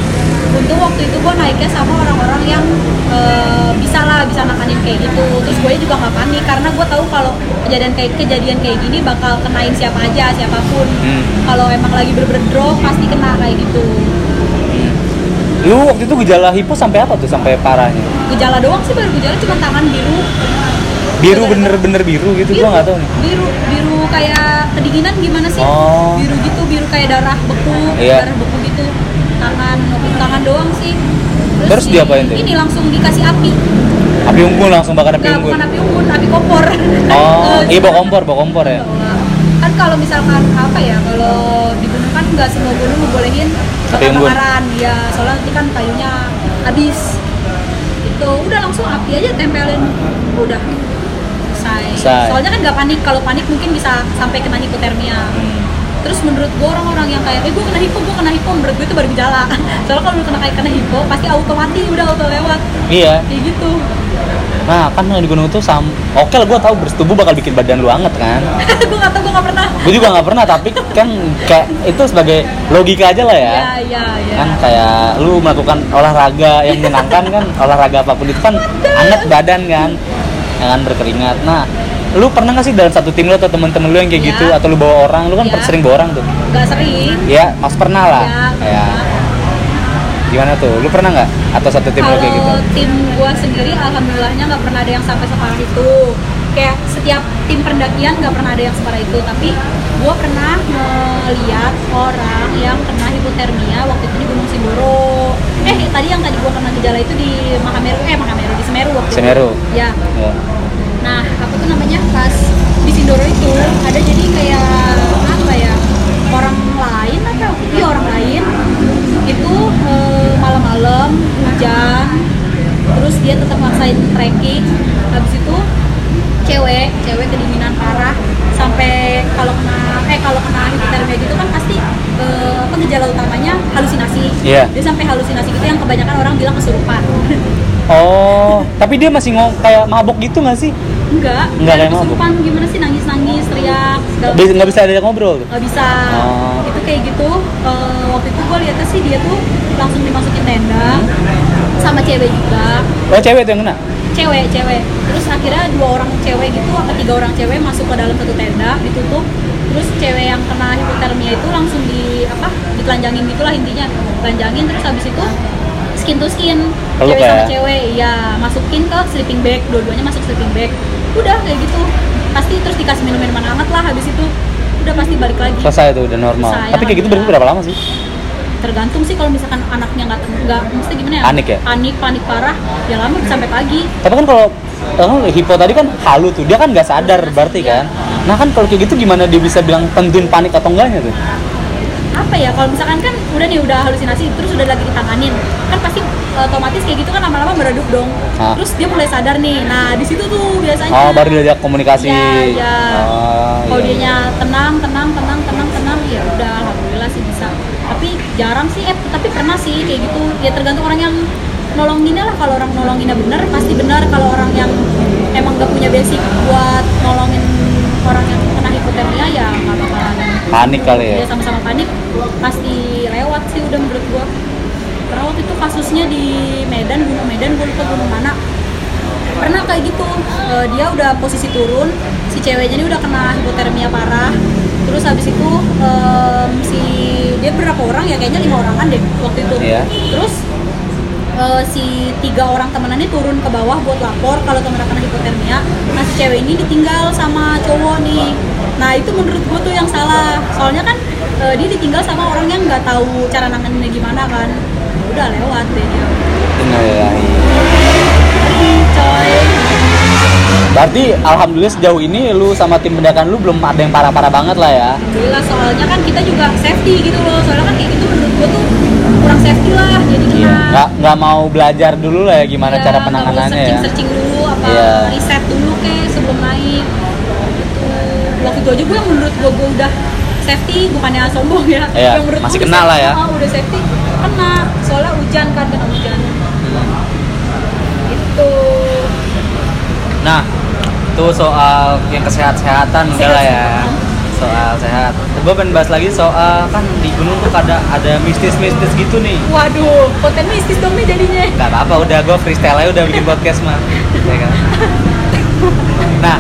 Speaker 2: untuk waktu itu gue naiknya sama orang-orang yang eh, bisa lah bisa nakanin kayak gitu terus gue juga nggak panik karena gue tahu kalau kejadian kayak kejadian kayak gini bakal kenain siapa aja siapapun
Speaker 1: Hmm.
Speaker 2: kalau emang lagi berberdrop pasti kena kayak gitu
Speaker 1: Lu waktu itu gejala hipo sampai apa tuh sampai parahnya?
Speaker 2: gejala doang sih baru gejala cuma tangan biru
Speaker 1: Biru bener-bener biru gitu gua nggak tahu nih.
Speaker 2: biru biru kayak kedinginan gimana sih
Speaker 1: Oh.
Speaker 2: biru gitu biru kayak darah beku
Speaker 1: Iya.
Speaker 2: darah beku gitu tangan nukul tangan doang sih
Speaker 1: Terus
Speaker 2: di-
Speaker 1: diapain tuh?
Speaker 2: ini langsung dikasih api
Speaker 1: Api unggun langsung bakar api
Speaker 2: nggak
Speaker 1: unggun.
Speaker 2: bukan api unggun api kompor
Speaker 1: Oh,
Speaker 2: [laughs] Eh,
Speaker 1: iya bawa kompor, bawa kompor ya.
Speaker 2: kan kalau misalkan apa ya kalau di gunung kan nggak semua gunung ngebolehin
Speaker 1: Api
Speaker 2: bakar
Speaker 1: unggun.
Speaker 2: bakaran ya soalnya nanti kan kayunya habis itu udah langsung api aja tempelin udah selesai
Speaker 1: Selesai.
Speaker 2: soalnya kan nggak panik kalau panik mungkin bisa sampai kena hipotermia
Speaker 1: Hmm.
Speaker 2: terus menurut gue orang-orang yang kayak eh gue kena hipo gue kena hipo menurut gue itu baru gejala [laughs] soalnya kalau lu kena kayak kena hipo pasti auto mati udah auto lewat
Speaker 1: Iya.
Speaker 2: kayak gitu [laughs]
Speaker 1: Nah, kan di gunung itu sam oke lah gue tahu bersetubuh bakal bikin badan lu anget kan.
Speaker 2: gue nggak tau gue nggak pernah
Speaker 1: Gue juga nggak pernah tapi kan kayak itu sebagai logika aja lah ya.
Speaker 2: ya ya ya
Speaker 1: Kan kayak lu melakukan olahraga yang menyenangkan
Speaker 2: [laughs]
Speaker 1: kan, olahraga apapun itu kan anget badan kan. Ya kan berkeringat. Nah, lu pernah nggak sih dalam satu tim lu atau temen-temen lu yang kayak
Speaker 2: Ya.
Speaker 1: gitu atau lu bawa orang, lu kan
Speaker 2: Ya.
Speaker 1: sering bawa orang tuh.
Speaker 2: nggak sering
Speaker 1: Ya, mas pernah lah.
Speaker 2: ya,
Speaker 1: Ya. Gimana tuh? Lu pernah nggak atau satu tim lu kayak gitu?
Speaker 2: kalau tim gua sendiri alhamdulillahnya nggak pernah ada yang sampai separah itu kayak setiap tim pendakian nggak pernah ada yang separah itu tapi gua pernah melihat orang yang kena hipotermia waktu itu di Gunung Sindoro eh tadi yang tadi gua kena gejala itu di Mahameru eh Mahameru di Semeru waktu itu.
Speaker 1: Semeru.
Speaker 2: ya
Speaker 1: Ya.
Speaker 2: Nah, apa tuh namanya pas di Sindoro itu ada jadi kayak apa ya orang lain atau iya orang lain itu eh, malam-malam hujan terus dia tetap maksain trekking habis itu cewek cewek kedinginan parah sampai kalau kena eh kalau kena hipotermia gitu kan pasti eh, apa gejala utamanya halusinasi
Speaker 1: Iya.
Speaker 2: dia sampai halusinasi gitu yang kebanyakan orang bilang kesurupan [laughs]
Speaker 1: Oh, tapi dia masih ngomong kayak mabok gitu nggak sih?
Speaker 2: enggak
Speaker 1: Enggak kayak mabuk.
Speaker 2: kesurupan gimana sih nangis nangis teriak segala
Speaker 1: Bisa- nggak bisa ada ngobrol tuh?
Speaker 2: nggak bisa
Speaker 1: Oh.
Speaker 2: itu kayak gitu Eh, waktu itu gue lihatnya sih dia tuh langsung dimasukin tenda sama cewek juga
Speaker 1: Oh cewek tuh yang kena?
Speaker 2: cewek cewek terus akhirnya dua orang cewek gitu atau tiga orang cewek masuk ke dalam satu tenda ditutup terus cewek yang kena hipotermia itu langsung di apa ditelanjangin gitulah intinya telanjangin terus habis itu skin to skin
Speaker 1: Peluk
Speaker 2: cewek sama
Speaker 1: ya?
Speaker 2: cewek iya masukin ke sleeping bag dua-duanya masuk sleeping bag udah kayak gitu pasti terus dikasih minum minuman hangat lah habis itu udah pasti balik lagi
Speaker 1: selesai tuh udah normal
Speaker 2: Selesai,
Speaker 1: tapi kayak gitu berarti berapa lama sih
Speaker 2: tergantung sih kalau misalkan anaknya nggak nggak mesti gimana ya
Speaker 1: Panik ya?
Speaker 2: panik panik parah ya lama sampai pagi
Speaker 1: tapi kan kalau kan hipo tadi kan halu tuh dia kan nggak sadar berarti
Speaker 2: Iya.
Speaker 1: kan nah kan kalau kayak gitu gimana dia bisa bilang tentuin panik atau enggaknya tuh
Speaker 2: apa ya kalau misalkan kan udah nih udah halusinasi terus udah lagi ditanganin kan pasti otomatis kayak gitu kan lama-lama meredup dong
Speaker 1: Ah.
Speaker 2: terus dia mulai sadar nih nah di situ tuh biasanya
Speaker 1: oh baru diajak komunikasi
Speaker 2: Iya, iya.
Speaker 1: Oh,
Speaker 2: kalau
Speaker 1: iya, iya.
Speaker 2: dianya tenang tenang tenang tenang tenang ya udah alhamdulillah sih bisa tapi jarang sih eh tapi pernah sih kayak gitu ya tergantung orang yang nolonginnya lah kalau orang nolonginnya bener pasti benar kalau orang yang emang gak punya basic buat nolongin orang yang kena hipotermia ya nggak bakalan
Speaker 1: panik kali ya
Speaker 2: ya sama-sama panik pasti lewat sih udah menurut gua karena waktu itu kasusnya di Medan gunung Medan gua lupa gunung mana pernah kayak gitu eh, dia udah posisi turun si ceweknya ini udah kena hipotermia parah terus habis itu em, si dia berapa orang ya kayaknya lima orangan deh waktu itu
Speaker 1: Iya.
Speaker 2: terus eh, si tiga orang temenannya turun ke bawah buat lapor kalau temennya kena hipotermia nah si cewek ini ditinggal sama cowok nih nah itu menurut gue tuh yang salah soalnya kan eh, dia ditinggal sama orang yang nggak tahu cara nanganinnya gimana kan udah lewat deh dia
Speaker 1: Innalillahi.
Speaker 2: coy
Speaker 1: berarti alhamdulillah sejauh ini lu sama tim pendakan lu belum ada yang parah-parah banget lah ya
Speaker 2: Alhamdulillah soalnya kan kita juga safety gitu loh soalnya kan kayak gitu menurut gue tuh kurang safety lah jadi kita
Speaker 1: Iya, nggak nggak mau belajar dulu lah ya gimana
Speaker 2: ya,
Speaker 1: cara
Speaker 2: nggak boleh
Speaker 1: penanganannya ya.
Speaker 2: searching-searching dulu apa
Speaker 1: Iya.
Speaker 2: riset dulu kek sebelum naik gitu waktu itu aja gue yang menurut gue gue udah safety bukannya sombong ya
Speaker 1: Iya,
Speaker 2: yang menurut
Speaker 1: masih
Speaker 2: gua
Speaker 1: kena
Speaker 2: udah
Speaker 1: lah ya.
Speaker 2: safety, ah, udah safety kena soalnya hujan kan kena hujan gitu
Speaker 1: Nah, itu soal yang kesehatan udah lah ya.
Speaker 2: Sehat-sehat.
Speaker 1: Soal sehat. Gue pengen bahas lagi soal kan di gunung tuh kadang ada mistis-mistis gitu nih.
Speaker 2: waduh konten mistis dong nih jadinya
Speaker 1: Gak apa-apa, udah gue freestyle aja udah bikin podcast mah. Ya kan? Nah,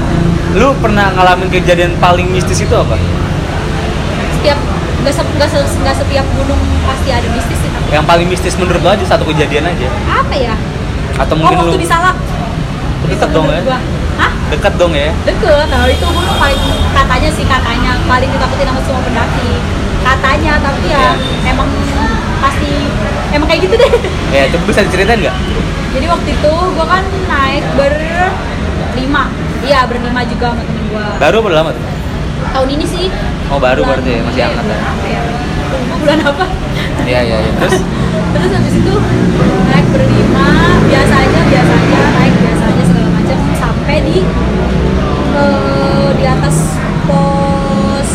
Speaker 1: lu pernah ngalamin kejadian paling mistis itu apa?
Speaker 2: setiap nggak se- nggak se- nggak setiap gunung pasti ada mistis sih tapi
Speaker 1: Yang paling mistis menurut lo aja satu kejadian aja?
Speaker 2: apa ya
Speaker 1: Atau
Speaker 2: oh
Speaker 1: mungkin lu
Speaker 2: waktu di Salak
Speaker 1: deket dong ya?
Speaker 2: Menurut gua. Hah?
Speaker 1: Deket dong ya?
Speaker 2: deket nah itu gue paling katanya sih katanya paling ditakutin sama semua pendaki katanya tapi
Speaker 1: Iya.
Speaker 2: ya emang pasti emang kayak gitu deh [laughs]
Speaker 1: Ya, coba bisa diceritain nggak?
Speaker 2: jadi waktu itu gue kan naik berlima iya berlima juga sama temen gue
Speaker 1: Baru apa udah lama tuh?
Speaker 2: tahun ini sih
Speaker 1: Oh baru berarti ya, masih hangat ya?
Speaker 2: ya Lupa bulan apa
Speaker 1: Iya, iya, iya. Terus?
Speaker 2: terus habis itu naik berlima biasanya biasanya naik biasanya segala macam sampai di eh, di atas pos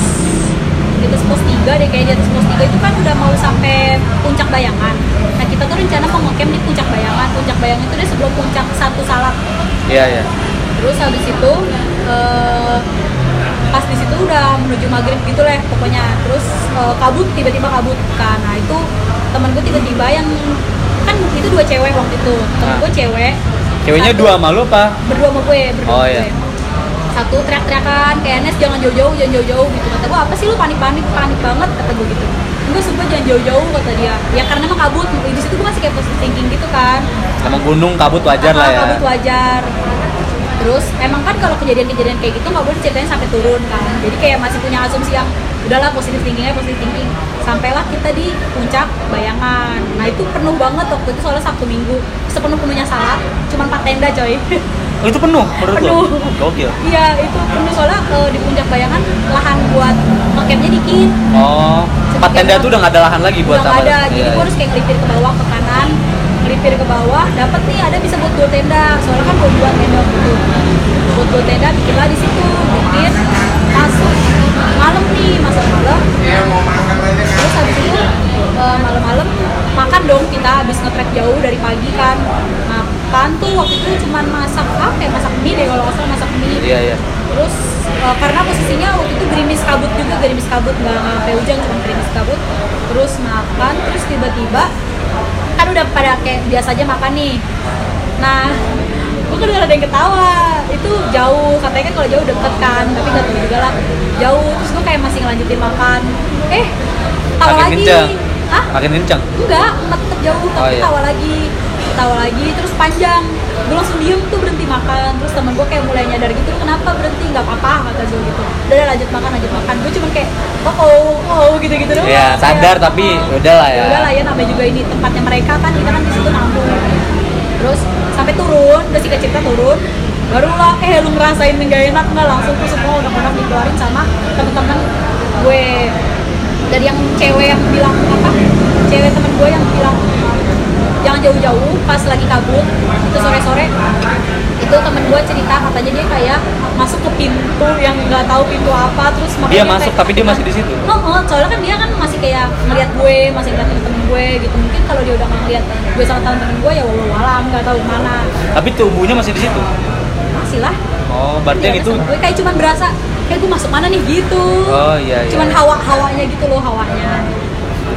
Speaker 2: di atas pos 3 deh kayaknya di atas pos 3 itu kan udah mau sampai puncak bayangan nah kita tuh rencana mau ngecamp di puncak bayangan puncak bayangan itu dia sebelum puncak satu salak
Speaker 1: Iya, iya.
Speaker 2: terus habis itu eh, pas di situ udah menuju maghrib gitu lah pokoknya terus eh, kabut tiba-tiba kabut kan nah itu temen gue tiba-tiba yang kan itu dua cewek waktu itu temen
Speaker 1: Ah.
Speaker 2: gue cewek
Speaker 1: Ceweknya
Speaker 2: Satu-
Speaker 1: dua malu apa?
Speaker 2: berdua sama gue berdua
Speaker 1: Oh,
Speaker 2: sama
Speaker 1: iya.
Speaker 2: gue satu teriak-teriakan kayak Nes jangan jauh-jauh jangan jauh-jauh gitu kata gue apa sih lu panik-panik panik banget kata gue gitu gue sumpah jangan jauh-jauh kata dia ya karena emang kabut di situ gue masih kayak positive thinking gitu kan
Speaker 1: Emang gunung kabut wajar lah ya.
Speaker 2: Kabut wajar. Terus emang kan kalau kejadian-kejadian kayak gitu nggak boleh ceritanya sampai turun kan. Jadi kayak masih punya asumsi yang udahlah positif thinkingnya positif thinking. Sampailah kita di puncak bayangan. Nah itu penuh banget waktu itu soalnya Sabtu Minggu sepenuh penuhnya salat, cuman empat tenda coy. [laughs]
Speaker 1: Oh, itu penuh menurut lo?
Speaker 2: Penuh.
Speaker 1: Gokil.
Speaker 2: Iya itu penuh soalnya eh, di puncak bayangan lahan buat ngecamnya dikit.
Speaker 1: Oh, tempat tenda tuh udah nggak ada lahan lagi buat
Speaker 2: Udah nggak
Speaker 1: tambah.
Speaker 2: ada,
Speaker 1: Iya.
Speaker 2: jadi gue harus kayak ngelipir ke bawah ke kanan, ngelipir ke bawah, dapat nih ada bisa buat dua tenda, soalnya kan gue buat tenda waktu itu, buat dua tenda bikinlah di situ, bikin masuk malam nih masuk malam, terus habis itu eh, malam-malam makan dong kita habis ngetrek jauh dari pagi kan, makan tuh waktu itu cuman masak apa ya masak mie deh kalau nggak salah masak mie,
Speaker 1: Iya, iya.
Speaker 2: terus eh, karena posisinya waktu itu gerimis kabut juga gerimis kabut nggak nggak sampai hujan cuma gerimis kabut terus makan terus tiba-tiba kan udah pada kayak biasa aja makan nih nah gue kan ada yang ketawa itu jauh katanya kan kalau jauh deket kan tapi nggak tahu juga lah jauh terus gue kayak masih ngelanjutin makan eh tawa
Speaker 1: Makin
Speaker 2: lagi
Speaker 1: kenceng.
Speaker 2: ah
Speaker 1: Makin kencang.
Speaker 2: enggak tetap jauh tapi
Speaker 1: Oh, iya.
Speaker 2: tawa lagi dikasih tahu lagi terus panjang gue langsung diem tuh berhenti makan terus temen gue kayak mulai nyadar gitu "Lu kenapa berhenti nggak apa-apa kata gue gitu udah udah, lanjut makan lanjut makan gue cuman kayak oh oh oh gitu gitu doang
Speaker 1: Iya, sadar
Speaker 2: Kayak,
Speaker 1: tapi
Speaker 2: "Oh."
Speaker 1: udahlah ya.
Speaker 2: udahlah ya namanya juga ini tempatnya mereka kan kita kan di situ nampung terus sampai turun udah sih cerita turun barulah eh lu ngerasain nggak enak nggak langsung tuh semua udah-udah dikeluarin sama temen-temen gue dari yang cewek yang bilang apa cewek temen gue yang bilang jangan jauh-jauh pas lagi kabut itu sore-sore itu temen gue cerita katanya dia kayak masuk ke pintu yang nggak tahu pintu apa terus makanya
Speaker 1: Dia masuk, tapi dia masih di situ?
Speaker 2: Oh, oh, soalnya kan dia kan masih kayak ngeliat gue masih ngeliat temen gue gitu mungkin kalau dia udah nggak ngeliat gue sama temen gue ya walau alam nggak tahu mana
Speaker 1: Tapi tubuhnya masih di situ.
Speaker 2: masih lah
Speaker 1: Oh, berarti yang
Speaker 2: Iya,
Speaker 1: itu
Speaker 2: sama gue kayak cuman berasa kayak gue masuk mana nih gitu
Speaker 1: Oh, iya, iya.
Speaker 2: cuman hawa hawanya gitu loh hawanya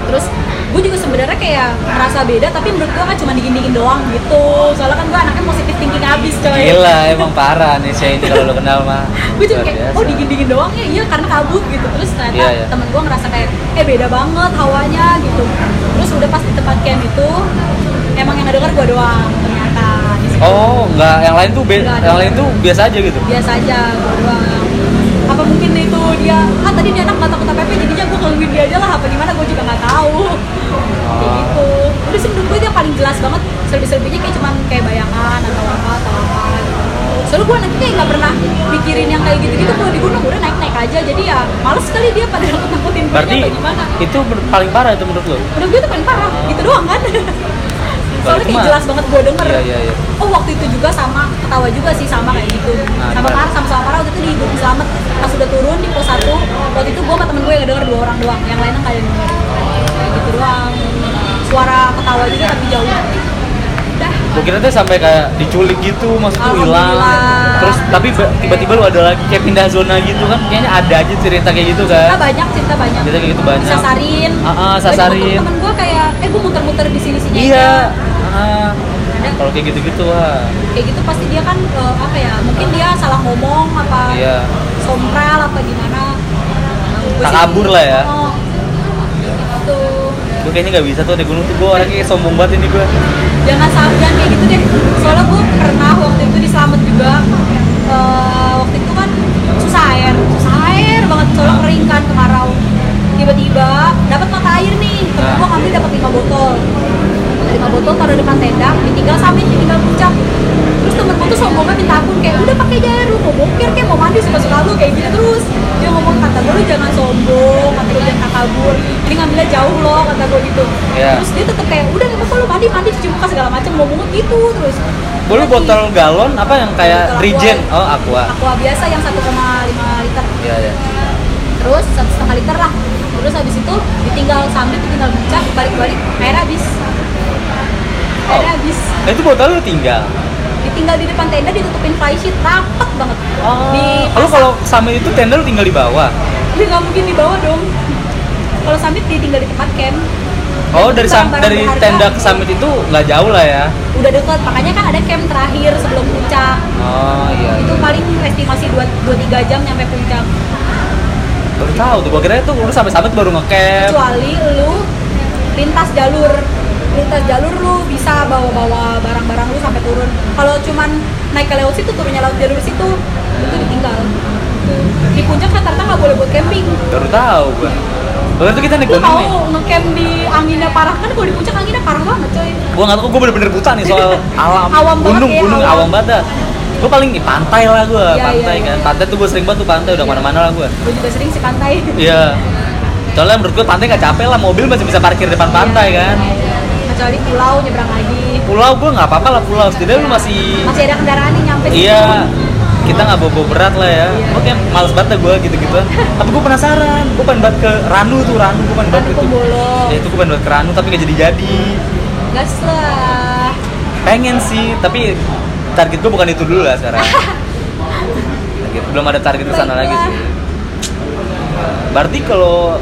Speaker 2: terus gue juga sebenarnya kayak merasa beda tapi menurut gue kan cuma diginiin doang gitu soalnya kan gue anaknya positif thinking abis coy
Speaker 1: gila emang parah Nesya ini kalau lo kenal mah.
Speaker 2: [laughs] gue cuma
Speaker 1: Luar
Speaker 2: kayak
Speaker 1: biasa.
Speaker 2: oh diginiin doang ya iya karena kabut gitu terus ternyata
Speaker 1: Iya, iya.
Speaker 2: temen gue ngerasa kayak eh beda banget hawanya gitu terus udah pas di tempat camp itu emang yang ngedenger gue doang ternyata di situ.
Speaker 1: Oh, enggak yang lain tuh be-
Speaker 2: Enggak ada. Iya,
Speaker 1: yang lain tuh biasa aja gitu.
Speaker 2: biasa aja gua doang. apa mungkin itu dia ah tadi dia anak nggak takut apa apa jadinya gue gangguin dia aja lah apa gimana gue juga nggak tahu
Speaker 1: Oh.
Speaker 2: kayak
Speaker 1: Ah.
Speaker 2: gitu udah sih menurut gue itu yang paling jelas banget selebih-selebihnya kayak cuman kayak bayangan atau apa atau apa gitu. soalnya gue nanti kayak nggak pernah mikirin yang kayak gitu-gitu kalau di gunung udah naik-naik aja jadi ya males kali dia pada nakut-nakutin gue
Speaker 1: Berarti
Speaker 2: atau gimana
Speaker 1: itu ber- paling parah itu menurut lo?
Speaker 2: menurut gue itu paling parah gitu doang kan [laughs] soalnya
Speaker 1: Cuma-
Speaker 2: kayak jelas banget gue denger
Speaker 1: Iya, iya, iya.
Speaker 2: oh waktu itu juga sama ketawa juga sih sama kayak gitu
Speaker 1: Nah,
Speaker 2: sama
Speaker 1: gimana?
Speaker 2: parah sama sama parah waktu itu di Gunung Selamat pas udah turun di pos 1 waktu itu gue sama temen gue yang denger dua orang doang yang lainnya kalian denger kayak gitu doang suara ketawa juga tapi jauh udah
Speaker 1: Gue kira tuh sampai kayak diculik gitu, maksudnya tuh hilang.
Speaker 2: Alhamdulillah.
Speaker 1: Terus tapi ba- tiba-tiba lu ada lagi kayak pindah zona gitu kan? Kayaknya ada aja cerita kayak gitu
Speaker 2: kita
Speaker 1: kan?
Speaker 2: banyak cerita banyak
Speaker 1: Cerita kayak gitu banyak.
Speaker 2: sasarin
Speaker 1: Ah, ah, sasarin.
Speaker 2: temen gue kayak eh gue muter-muter di sini sini
Speaker 1: Iya. Ah,
Speaker 2: ada
Speaker 1: kalau kayak gitu-gitu wah.
Speaker 2: kayak gitu pasti dia kan eh, apa ya mungkin dia salah ngomong apa
Speaker 1: Iya.
Speaker 2: sompral apa gimana Gua sih-
Speaker 1: Takabur lah ya.
Speaker 2: Oh, gitu
Speaker 1: Gue kayaknya nggak bisa tuh di gunung tuh gue orangnya kayak sombong banget ini gue.
Speaker 2: jangan sampai jangan kayak gitu deh soalnya gue pernah waktu itu di Slamet juga eh, waktu itu kan susah air susah air banget soalnya kering kan kemarau tiba-tiba dapat mata air nih temen
Speaker 1: Nah.
Speaker 2: gue ngambil dapat 5 botol lima botol taruh depan tenda ditinggal samit ditinggal puncak terus temen gue tuh sombongnya minta akun kayak udah pakai aja air lu mau boker kayak mau mandi suka suka lu kayak gitu terus dia ngomong kata gue lu jangan sombong kata gue jangan kabur ini ngambilnya jauh loh kata gue gitu
Speaker 1: Iya.
Speaker 2: terus dia tetep kayak udah nggak apa-apa lu mandi mandi cuci muka segala macam ngomong gitu terus
Speaker 1: Gue lu
Speaker 2: Tapi
Speaker 1: botol galon apa yang kayak
Speaker 2: Botol
Speaker 1: regen?
Speaker 2: aqua.
Speaker 1: Oh aqua.
Speaker 2: aqua biasa yang 1,5 liter
Speaker 1: Iya ya.
Speaker 2: terus satu setengah liter lah terus habis itu ditinggal sambil ditinggal puncak balik-balik air habis air
Speaker 1: Oh.
Speaker 2: habis
Speaker 1: Nah, itu botol lu tinggal.
Speaker 2: ditinggal di depan tenda ditutupin fly sheet rapet banget Oh.
Speaker 1: Oh.
Speaker 2: di
Speaker 1: Kalau kalau sambil itu tenda lu tinggal di bawah.
Speaker 2: tapi nggak mungkin dibawa dong kalau summit ditinggal di tempat camp
Speaker 1: Oh dari sam-
Speaker 2: Barang-barang
Speaker 1: dari
Speaker 2: berharga.
Speaker 1: tenda ke summit itu nggak jauh lah ya.
Speaker 2: udah deket makanya kan ada camp terakhir sebelum puncak
Speaker 1: Oh iya.
Speaker 2: itu paling estimasi 2-3 jam nyampe puncak
Speaker 1: Baru tahu tuh. Gue kira tuh lu sampai summit baru ngecamp.
Speaker 2: kecuali lu lintas jalur lintas jalur lu bisa bawa-bawa barang-barang lu sampai turun kalau cuman naik ke laut situ turunnya laut jalur situ itu ditinggal di puncak rata-rata nggak boleh buat camping
Speaker 1: Baru tahu gue. Waktu itu kita naik
Speaker 2: lu
Speaker 1: gunung
Speaker 2: mau
Speaker 1: nih.
Speaker 2: ngecamp di anginnya parah kan kalau di puncak anginnya parah banget coy
Speaker 1: Gue nggak tahu gue bener-bener buta nih soal alam
Speaker 2: [laughs] Awam banget
Speaker 1: gunung
Speaker 2: ya,
Speaker 1: gunung
Speaker 2: awam.
Speaker 1: awam banget. Gue paling di pantai lah gue.
Speaker 2: Iya,
Speaker 1: pantai
Speaker 2: iya,
Speaker 1: kan.
Speaker 2: iya.
Speaker 1: Pantai tuh gue sering banget tuh pantai udah
Speaker 2: Iya.
Speaker 1: mana-mana lah gue.
Speaker 2: gue juga sering sih pantai
Speaker 1: Iya. Soalnya menurut gue pantai nggak capek lah. Mobil masih bisa parkir depan pantai
Speaker 2: Iya,
Speaker 1: kan.
Speaker 2: iya. kecuali pulau nyebrang lagi
Speaker 1: Pulau gue nggak apa-apa lah pulau. Setidaknya lu masih
Speaker 2: masih ada kendaraan yang nyampe situ.
Speaker 1: Iya, kita nggak bobo berat lah ya.
Speaker 2: Iya.
Speaker 1: Oke, males banget gue
Speaker 2: [laughs]
Speaker 1: gitu-gitu. Tapi gue penasaran, gue pengen banget ke Ranu tuh, Ranu gue pengen banget
Speaker 2: Ranu
Speaker 1: itu.
Speaker 2: Kumbolo.
Speaker 1: Ya itu gue pengen banget ke Ranu tapi gak jadi-jadi.
Speaker 2: gas lah
Speaker 1: Pengen sih, tapi target gue bukan itu dulu lah
Speaker 2: [laughs]
Speaker 1: sekarang. target, belum ada target ke sana lagi sih. Berarti kalau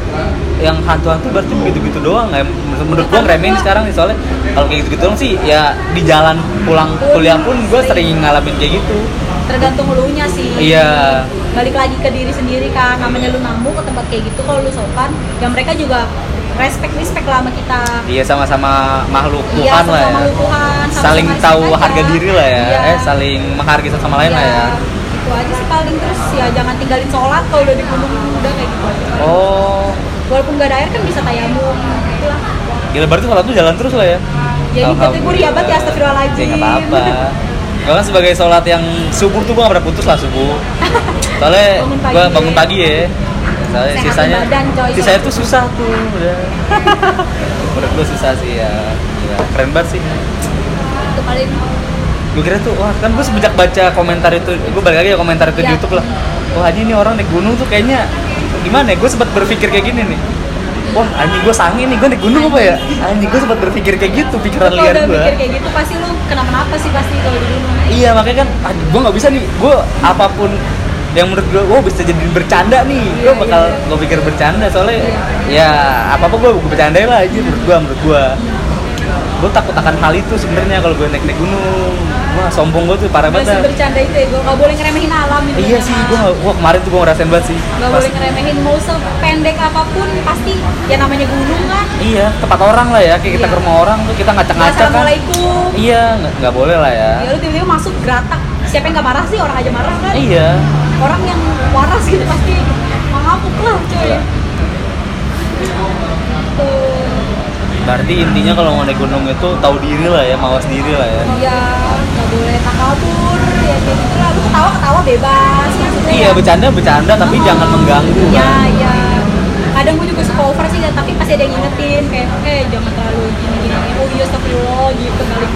Speaker 1: yang hantu-hantu berarti begitu-gitu doang ya Menurut- menurut gue ngeremehin sekarang nih soalnya kalau kayak gitu-gitu doang sih ya di jalan pulang kuliah pun gue sering ngalamin kayak gitu
Speaker 2: tergantung elunya sih
Speaker 1: Iya.
Speaker 2: balik lagi ke diri sendiri kan namanya lu namu ke tempat kayak gitu kalau lu sopan ya mereka juga respect respect lah sama kita
Speaker 1: Iya sama-sama makhluk
Speaker 2: Iya,
Speaker 1: Tuhan lah
Speaker 2: sama
Speaker 1: ya.
Speaker 2: Tuhan, sama
Speaker 1: saling
Speaker 2: sama
Speaker 1: tahu
Speaker 2: respect
Speaker 1: harga
Speaker 2: aja.
Speaker 1: diri lah ya.
Speaker 2: Iya.
Speaker 1: Eh saling menghargai satu sama lain lah ya.
Speaker 2: itu gitu aja sih paling terus ya jangan tinggalin sholat kalau udah di gunung udah kayak gitu aja.
Speaker 1: Oh,
Speaker 2: walaupun nggak ada air kan bisa tayamum itulah
Speaker 1: gila berarti kalau tuh jalan terus lah ya.
Speaker 2: Jadi kategori
Speaker 1: Alhamdulillah.
Speaker 2: apa ya astagfirullahaladzim
Speaker 1: Ya nggak apa-apa. Gue kan sebagai sholat yang subuh tuh gue nggak pernah putus lah
Speaker 2: [laughs]
Speaker 1: subuh. Soalnya
Speaker 2: Bangun pagi.
Speaker 1: gue bangun pagi ya. Soalnya
Speaker 2: Sehatin
Speaker 1: sisanya,
Speaker 2: badan, coy.
Speaker 1: sisanya tuh susah tuh
Speaker 2: [laughs]
Speaker 1: udah. Menurut gue susah sih ya. Gila, keren banget sih.
Speaker 2: itu paling
Speaker 1: gue kira tuh wah kan gue sejak baca komentar itu gue balik lagi ya komentar itu di
Speaker 2: Iya.
Speaker 1: YouTube lah wah anjing ini orang naik gunung tuh kayaknya gimana ya gue sempat berpikir kayak gini nih wah anjing gue sange nih gue naik gunung apa ya anjing gue sempat berpikir kayak gitu pikiran
Speaker 2: kalau
Speaker 1: liar
Speaker 2: udah
Speaker 1: gue
Speaker 2: mikir kayak gitu pasti lu kenapa-napa sih pasti kalau di gunung
Speaker 1: iya makanya kan gue nggak bisa nih gue apapun yang menurut gue wah bisa jadi bercanda nih gue
Speaker 2: Iya,
Speaker 1: bakal
Speaker 2: iya.
Speaker 1: gue pikir bercanda soalnya ya apa apa gue bercandain lah aja menurut gue menurut gue gue takut akan hal itu sebenarnya kalau gue naik naik gunung wah sombong gue tuh parah
Speaker 2: Gak sih
Speaker 1: banget
Speaker 2: bercanda itu ya, gue gak boleh ngeremehin alam itu
Speaker 1: Iya sih, gua nggak- wah kemarin tuh gue ngerasain banget sih.
Speaker 2: Gak
Speaker 1: Pas-
Speaker 2: boleh ngeremehin mau sependek apapun pasti ya namanya gunung kan
Speaker 1: Iya, tempat orang lah ya, kayak kita
Speaker 2: Iya.
Speaker 1: ke rumah orang tuh kita ngacak-ngacak kan.
Speaker 2: Assalamualaikum
Speaker 1: Iya, nggak nggak boleh lah ya.
Speaker 2: ya lu tiba-tiba masuk geratak siapa yang gak marah sih orang aja marah kan
Speaker 1: Iya.
Speaker 2: orang yang waras gitu pasti mengamuk lah Gitu. coy
Speaker 1: Iya.
Speaker 2: tuh
Speaker 1: Berarti intinya kalau mau naik gunung itu tahu diri lah ya, mawas diri lah ya.
Speaker 2: ya gak boleh takabur ya kayak gitu lah lu ketawa ketawa bebas kan sebenarnya
Speaker 1: Iya,
Speaker 2: ya.
Speaker 1: bercanda bercanda tapi
Speaker 2: Oh.
Speaker 1: jangan mengganggu.
Speaker 2: Iya,
Speaker 1: kan.
Speaker 2: iya. Kadang gue juga suka over sih, tapi pasti ada yang ngingetin kayak, eh jangan terlalu gini-gini. Oh iya, astagfirullah gitu kali.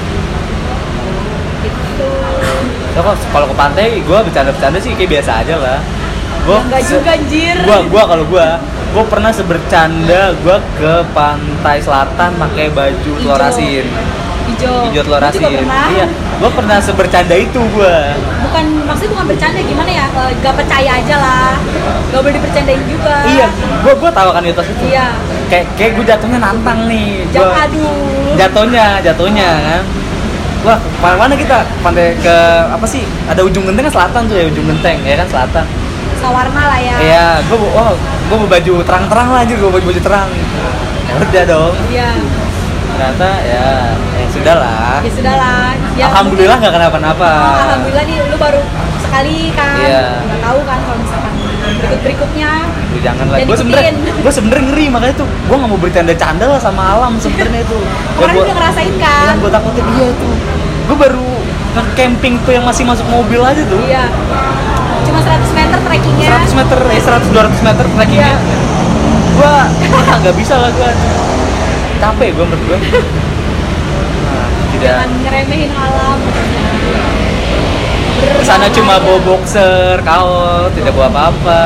Speaker 2: Gitu.
Speaker 1: Ya, kalau- kalau ke pantai gue bercanda-bercanda sih kayak biasa aja lah. Gue
Speaker 2: Ya, enggak juga anjir.
Speaker 1: gua gua kalau gua gua pernah sebercanda gua ke pantai selatan pakai baju
Speaker 2: Hijau.
Speaker 1: telur asin
Speaker 2: hijau.
Speaker 1: hijau telur
Speaker 2: Gua juga
Speaker 1: asin
Speaker 2: pernah.
Speaker 1: iya gua pernah sebercanda itu gua
Speaker 2: Bukan maksudnya bukan bercanda gimana ya? eh, Gak percaya aja lah. Gak boleh dipercandain juga.
Speaker 1: Iya, gua gua tahu kan itu itu.
Speaker 2: Iya.
Speaker 1: Kayak kayak gua jatuhnya nantang nih.
Speaker 2: Jangan
Speaker 1: Gua,
Speaker 2: aduh.
Speaker 1: jatuhnya, jatuhnya kan. Wah, mana mana kita pantai ke apa sih? Ada ujung genteng kan selatan tuh ya, ujung genteng ya kan selatan.
Speaker 2: Sawarna lah ya.
Speaker 1: Iya, gua bawa- wah, gua bawa baju terang-terang lah anjir, gua baju baju terang. Ya udah dong.
Speaker 2: Iya.
Speaker 1: Ternyata ya, ya sudahlah.
Speaker 2: Ya sudah lah. Ya,
Speaker 1: Alhamdulillah nggak kenapa-napa.
Speaker 2: Oh, alhamdulillah nih lu baru sekali kan.
Speaker 1: Iya.
Speaker 2: Nggak tahu kan kalau misalkan berikut berikutnya.
Speaker 1: Lu jangan lah.
Speaker 2: Ya,
Speaker 1: Gue sebenernya,
Speaker 2: diikutin.
Speaker 1: gue sebenernya ngeri makanya tuh, gue nggak mau bercanda-canda lah sama alam sebenernya itu. Ya,
Speaker 2: Orang
Speaker 1: gua-
Speaker 2: udah ngerasain kan.
Speaker 1: yang gue takutin dia tuh gue baru nge-camping tuh yang masih masuk mobil aja tuh
Speaker 2: Iya. Cuma 100 meter trekkingnya.
Speaker 1: 100 meter eh 100 200 meter trekkingnya
Speaker 2: Iya.
Speaker 1: gue nggak bisa lah gue capek gue menurut
Speaker 2: [laughs]
Speaker 1: gue nah, tidak
Speaker 2: Jangan ngeremehin alam.
Speaker 1: kesana cuma bawa boxer kaos tidak bawa apa-apa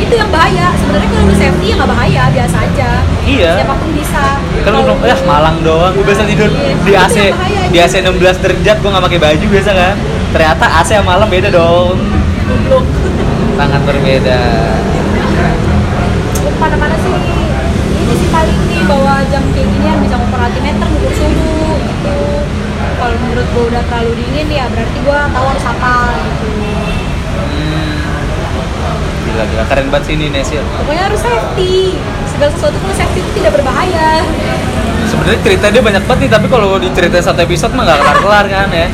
Speaker 2: Itu yang bahaya. Sebenarnya kalau lu safety ya nggak bahaya, biasa aja.
Speaker 1: iya
Speaker 2: Siapapun bisa.
Speaker 1: kan lu
Speaker 2: Kalau-
Speaker 1: bilang, "Yah, malang doang gue biasa tidur
Speaker 2: Iya.
Speaker 1: di AC
Speaker 2: Itu yang bahaya,
Speaker 1: di AC 16 derajat gue nggak pakai baju biasa kan ternyata AC sama malam beda dong
Speaker 2: Goblok.
Speaker 1: sangat berbeda
Speaker 2: Lu Mana-mana sih ini sih paling nih bawa jam kayak gini yang bisa ngukur altimeter, ngukur suhu gitu. Kalau menurut gua udah terlalu dingin ya berarti gua tahu harus apa gitu.
Speaker 1: Hmm. Gila, gila. Keren banget sih ini ya. Nesil.
Speaker 2: Pokoknya harus safety. Segala sesuatu kalau safety itu tidak berbahaya.
Speaker 1: Sebenarnya cerita dia banyak banget nih, tapi kalau diceritain satu episode mah nggak kelar-kelar kan ya.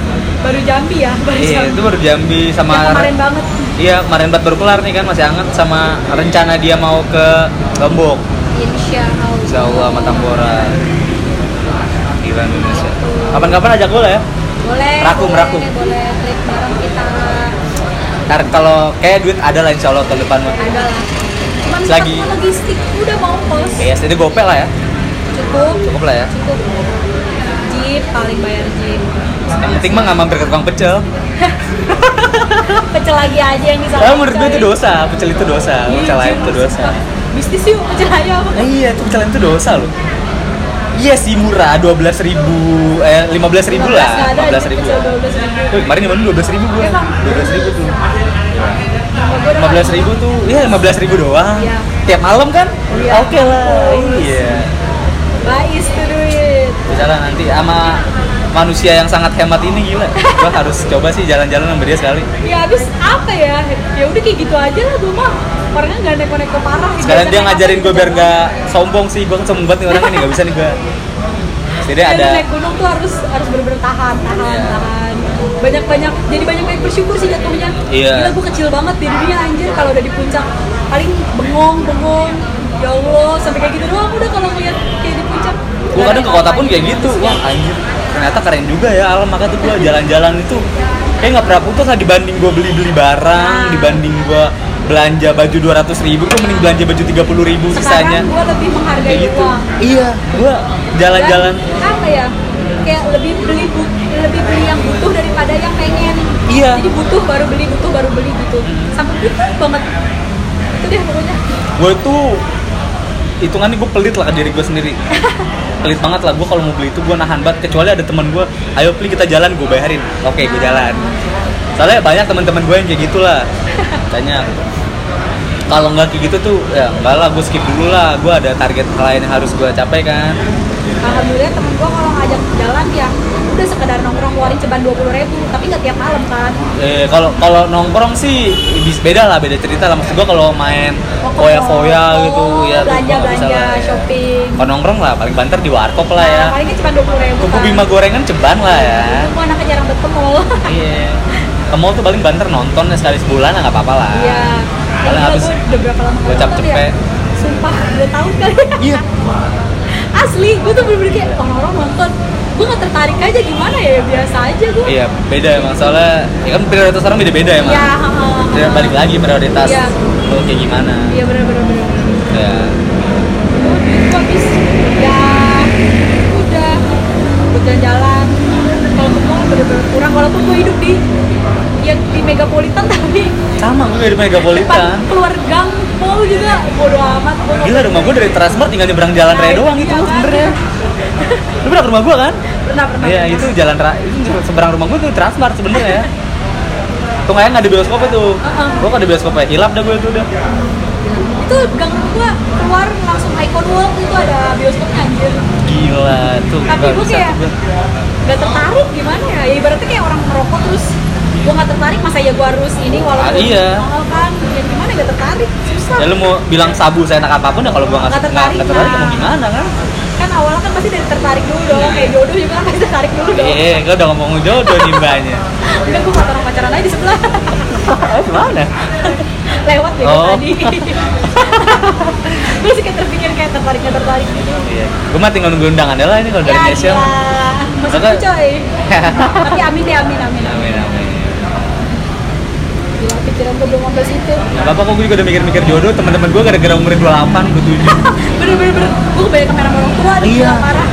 Speaker 2: Baru Jambi ya, baru
Speaker 1: Iya,
Speaker 2: Jambi.
Speaker 1: itu baru Jambi sama
Speaker 2: Yang kemarin banget.
Speaker 1: Iya, kemarin banget baru kelar nih kan masih hangat sama rencana dia mau ke Lombok.
Speaker 2: Insya Allah.
Speaker 1: Insya Allah sama Tambora. Gila Indonesia. Kapan-kapan ajak gue lah ya.
Speaker 2: Boleh.
Speaker 1: Rakum,
Speaker 2: boleh,
Speaker 1: rakum.
Speaker 2: Boleh klik bareng kita.
Speaker 1: Ntar kalau kayak duit ada lah Insya Allah tahun depan mah.
Speaker 2: Ada lah. Cuman
Speaker 1: Lagi-
Speaker 2: kita logistik udah mau kos.
Speaker 1: Iya, jadi gope lah ya.
Speaker 2: Cukup.
Speaker 1: Cukup lah ya.
Speaker 2: Cukup. Jeep paling bayar jeep. [laughs]
Speaker 1: Yang penting mah nggak mampir ke tukang pecel.
Speaker 2: Pecel lagi aja yang disalahin.
Speaker 1: Karena menurut gue itu
Speaker 2: coy.
Speaker 1: dosa, pecel itu dosa,
Speaker 2: Iya,
Speaker 1: pecel lain
Speaker 2: Jeep,
Speaker 1: itu dosa.
Speaker 2: maksud gua, Bisnis yuk pecel ayam.
Speaker 1: Nah, iya, itu pecahan itu dosa loh. Iya sih murah, 12.000 eh 15.000
Speaker 2: Nggak
Speaker 1: lah,
Speaker 2: ada,
Speaker 1: 15.000.
Speaker 2: pecel Iya, 12.000.
Speaker 1: Wih, kemarin nyobain 12.000 gua.
Speaker 2: Emang?
Speaker 1: 12.000 tuh.
Speaker 2: Sama gua udah
Speaker 1: 15.000 tuh, iya 15.000 doang.
Speaker 2: Iya.
Speaker 1: Tiap malam kan?
Speaker 2: Iya.
Speaker 1: Oke lah.
Speaker 2: Bagus.
Speaker 1: Iya.
Speaker 2: Bais tuh duit.
Speaker 1: Misalnya nanti sama manusia yang sangat hemat ini gila gue harus coba sih jalan-jalan sama dia sekali
Speaker 2: ya abis apa ya ya udah kayak gitu aja lah gue mah orangnya nggak neko-neko parah
Speaker 1: sekalian dia
Speaker 2: Biasanya
Speaker 1: ngajarin
Speaker 2: apa
Speaker 1: gue
Speaker 2: sih,
Speaker 1: biar
Speaker 2: jalan-
Speaker 1: nggak sombong sih gue kan sombong banget nih orangnya nih nggak bisa nih gue jadi
Speaker 2: Kayak
Speaker 1: ada
Speaker 2: naik gunung tuh harus harus bener-bener tahan tahan
Speaker 1: Iya.
Speaker 2: tahan banyak banyak jadi banyak banyak bersyukur sih jatuhnya
Speaker 1: Iya.
Speaker 2: gila gue kecil banget di dunia anjir kalau udah di puncak paling bengong bengong ya allah sampai kayak gitu doang udah kalau ngeliat kayak di puncak
Speaker 1: gue kadang ke kota pun kayak gitu wah anjir ternyata keren juga ya alam maka tuh gue jalan-jalan itu kayak nggak pernah putus lah dibanding gue beli-beli barang
Speaker 2: Nah.
Speaker 1: dibanding gue belanja baju 200.000 ribu gue mending belanja baju 30.000 ribu sisanya
Speaker 2: sekarang gue lebih menghargai
Speaker 1: kayak gitu
Speaker 2: uang
Speaker 1: iya gue
Speaker 2: Dan
Speaker 1: jalan-jalan
Speaker 2: apa ya kayak lebih beli bu- lebih beli yang butuh daripada yang pengen
Speaker 1: Iya.
Speaker 2: jadi butuh baru beli butuh baru beli gitu sampai butuh banget itu deh pokoknya
Speaker 1: gue tuh hitungannya gue pelit lah ke diri gue
Speaker 2: [laughs]
Speaker 1: sendiri pelit banget lah gue kalau mau beli itu gue nahan banget kecuali ada teman gue ayo beli kita jalan gue bayarin oke gue jalan soalnya banyak teman-teman gue yang kayak
Speaker 2: [laughs]
Speaker 1: gitulah banyak kalau nggak kayak gitu tuh ya enggak lah gue skip dulu lah gue ada target lain yang harus gue capai kan
Speaker 2: Alhamdulillah temen gue kalau ngajak jalan ya udah sekedar nongkrong keluarin ceban dua puluh ribu tapi nggak tiap malam kan
Speaker 1: Eh, kalau kalau nongkrong sih bis- beda lah beda cerita lah maksud gue kalau main
Speaker 2: Rokok,
Speaker 1: foya-foya gitu
Speaker 2: rokok,
Speaker 1: ya tuh
Speaker 2: belanja
Speaker 1: gua nggak bisa
Speaker 2: belanja
Speaker 1: lah, ya.
Speaker 2: oh, shopping
Speaker 1: kalau nongkrong lah paling banter di warkop lah ya
Speaker 2: nah, palingnya cuma dua puluh ribu
Speaker 1: Kuku Bima gorengan ceban lah ya.
Speaker 2: gue anaknya jarang ke mall
Speaker 1: Iya. Ke mall tuh paling banter nonton ya sekali sebulan lah nggak apa-apa lah.
Speaker 2: iya
Speaker 1: Paling
Speaker 2: Ya,
Speaker 1: habis-
Speaker 2: gua udah berapa lama nggak
Speaker 1: gocap
Speaker 2: nonton ya?
Speaker 1: cepet.
Speaker 2: sumpah dua tahun kali ya.
Speaker 1: Iya.
Speaker 2: asli gue tuh bener-bener kayak orang-orang nonton gue nggak tertarik aja gimana ya biasa aja gue
Speaker 1: Iya, beda emang soalnya ya kan prioritas orang beda-beda emang.
Speaker 2: ya ha, ha, ha.
Speaker 1: Dan Iya, balik lagi prioritas
Speaker 2: Iya.
Speaker 1: lo kayak gimana.
Speaker 2: iya bener-bener bener.
Speaker 1: Ya.
Speaker 2: Gua habis ya udah buat jalan-jalan kalau ke mall bener-bener kurang walaupun gue hidup di ya di megapolitan [laughs] tapi
Speaker 1: Sama gue di
Speaker 2: depan
Speaker 1: Megapolitan.
Speaker 2: keluar gang mall juga bodo amat gua nggak
Speaker 1: Gila rumah gue dari Transmart tinggal nyebrang jalan raya doang itu
Speaker 2: Iya, kan?
Speaker 1: sebenernya. Lu pernah ke rumah gue kan?
Speaker 2: pernah pernah gitu.
Speaker 1: Iya,
Speaker 2: pernah.
Speaker 1: itu jalan raya itu seberang rumah gue tuh Transmart sebenernya. Tuh kayaknya nggak ada bioskopnya tuh.
Speaker 2: Uh-uh.
Speaker 1: Gue nggak ada bioskopnya, hilap dah gue itu udah.
Speaker 2: itu gang gua keluar langsung icon walk itu ada bioskopnya anjir
Speaker 1: Gila tuh.
Speaker 2: Tapi
Speaker 1: nggak
Speaker 2: gue
Speaker 1: bisa
Speaker 2: kayak-
Speaker 1: tuh gua.
Speaker 2: nggak tertarik gimana ya, ya ibaratnya kayak orang merokok terus gua nggak tertarik masa ya gua harus ini
Speaker 1: Ah,
Speaker 2: walaupun
Speaker 1: iya.
Speaker 2: mahal kan ya gimana nggak tertarik susah
Speaker 1: ya lu mau bilang sabu saya enak apapun ya kalau gua nggak
Speaker 2: Nggak
Speaker 1: nggak
Speaker 2: tertarik,
Speaker 1: nggak tertarik
Speaker 2: nah.
Speaker 1: mau gimana kan
Speaker 2: kan awalnya kan pasti dari tertarik dulu dong kayak jodoh juga kan pasti tertarik dulu dong
Speaker 1: eh gua udah ngomong jodoh nih
Speaker 2: [laughs]
Speaker 1: mbaknya
Speaker 2: enggak gue pacaran pacaran aja di sebelah [laughs]
Speaker 1: Eh, gimana
Speaker 2: lewat deh gua
Speaker 1: Oh.
Speaker 2: tadi [laughs] gue sih kayak terpikir kayak tertarik nggak tertarik gitu
Speaker 1: iya gua mah tinggal nunggu undangan aja lah ini kalau dari
Speaker 2: ya
Speaker 1: Indonesia
Speaker 2: gila masih
Speaker 1: Maka-
Speaker 2: coy tapi amin deh amin amin amin
Speaker 1: [laughs] amin amin
Speaker 2: gila pikiran gue belum sampai situ
Speaker 1: nggak apa-apa kok gua juga udah mikir-mikir jodoh teman-teman gua gara-gara umur 28, 27
Speaker 2: bener-bener bener. gue kebanyakan merah orang tua aduh,
Speaker 1: Iya.
Speaker 2: gila, parah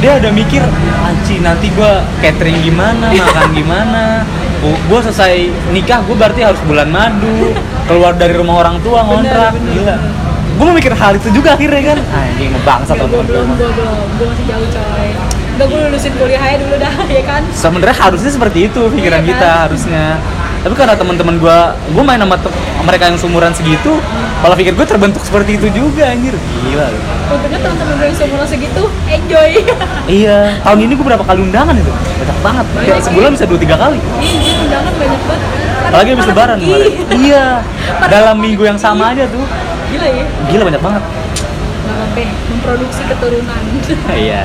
Speaker 1: dia udah mikir anci nanti gua catering
Speaker 2: [laughs]
Speaker 1: gimana makan gimana Gua- gua selesai nikah gua berarti harus bulan madu keluar dari rumah orang tua ngontrak
Speaker 2: bener.
Speaker 1: gila gua mau mikir hal itu juga akhirnya kan anjing ngebangsa
Speaker 2: Gak, gue
Speaker 1: teman-teman
Speaker 2: Iya, belum, gue belum, gue masih jauh coy Udah gue lulusin kuliah aja dulu dah, [laughs] ya kan?
Speaker 1: sebenarnya harusnya seperti itu pikiran
Speaker 2: Iya kan?
Speaker 1: kita harusnya tapi karena teman-teman gue gue main sama tem- mereka yang seumuran segitu kalau pikir gue terbentuk seperti itu juga anjir gila lu.
Speaker 2: Untungnya teman-teman gue yang seumuran segitu, enjoy [laughs]
Speaker 1: iya tahun ini gue berapa kali undangan itu banyak banget Kayak sebulan bisa dua tiga kali
Speaker 2: Ini undangan banyak banget
Speaker 1: apalagi habis
Speaker 2: Pada
Speaker 1: lebaran
Speaker 2: pergi.
Speaker 1: kemarin. iya
Speaker 2: Pada
Speaker 1: dalam
Speaker 2: pergi.
Speaker 1: minggu yang sama aja tuh
Speaker 2: [laughs] Gila ya,
Speaker 1: gila banyak banget
Speaker 2: gak apa memproduksi keturunan [laughs]
Speaker 1: iya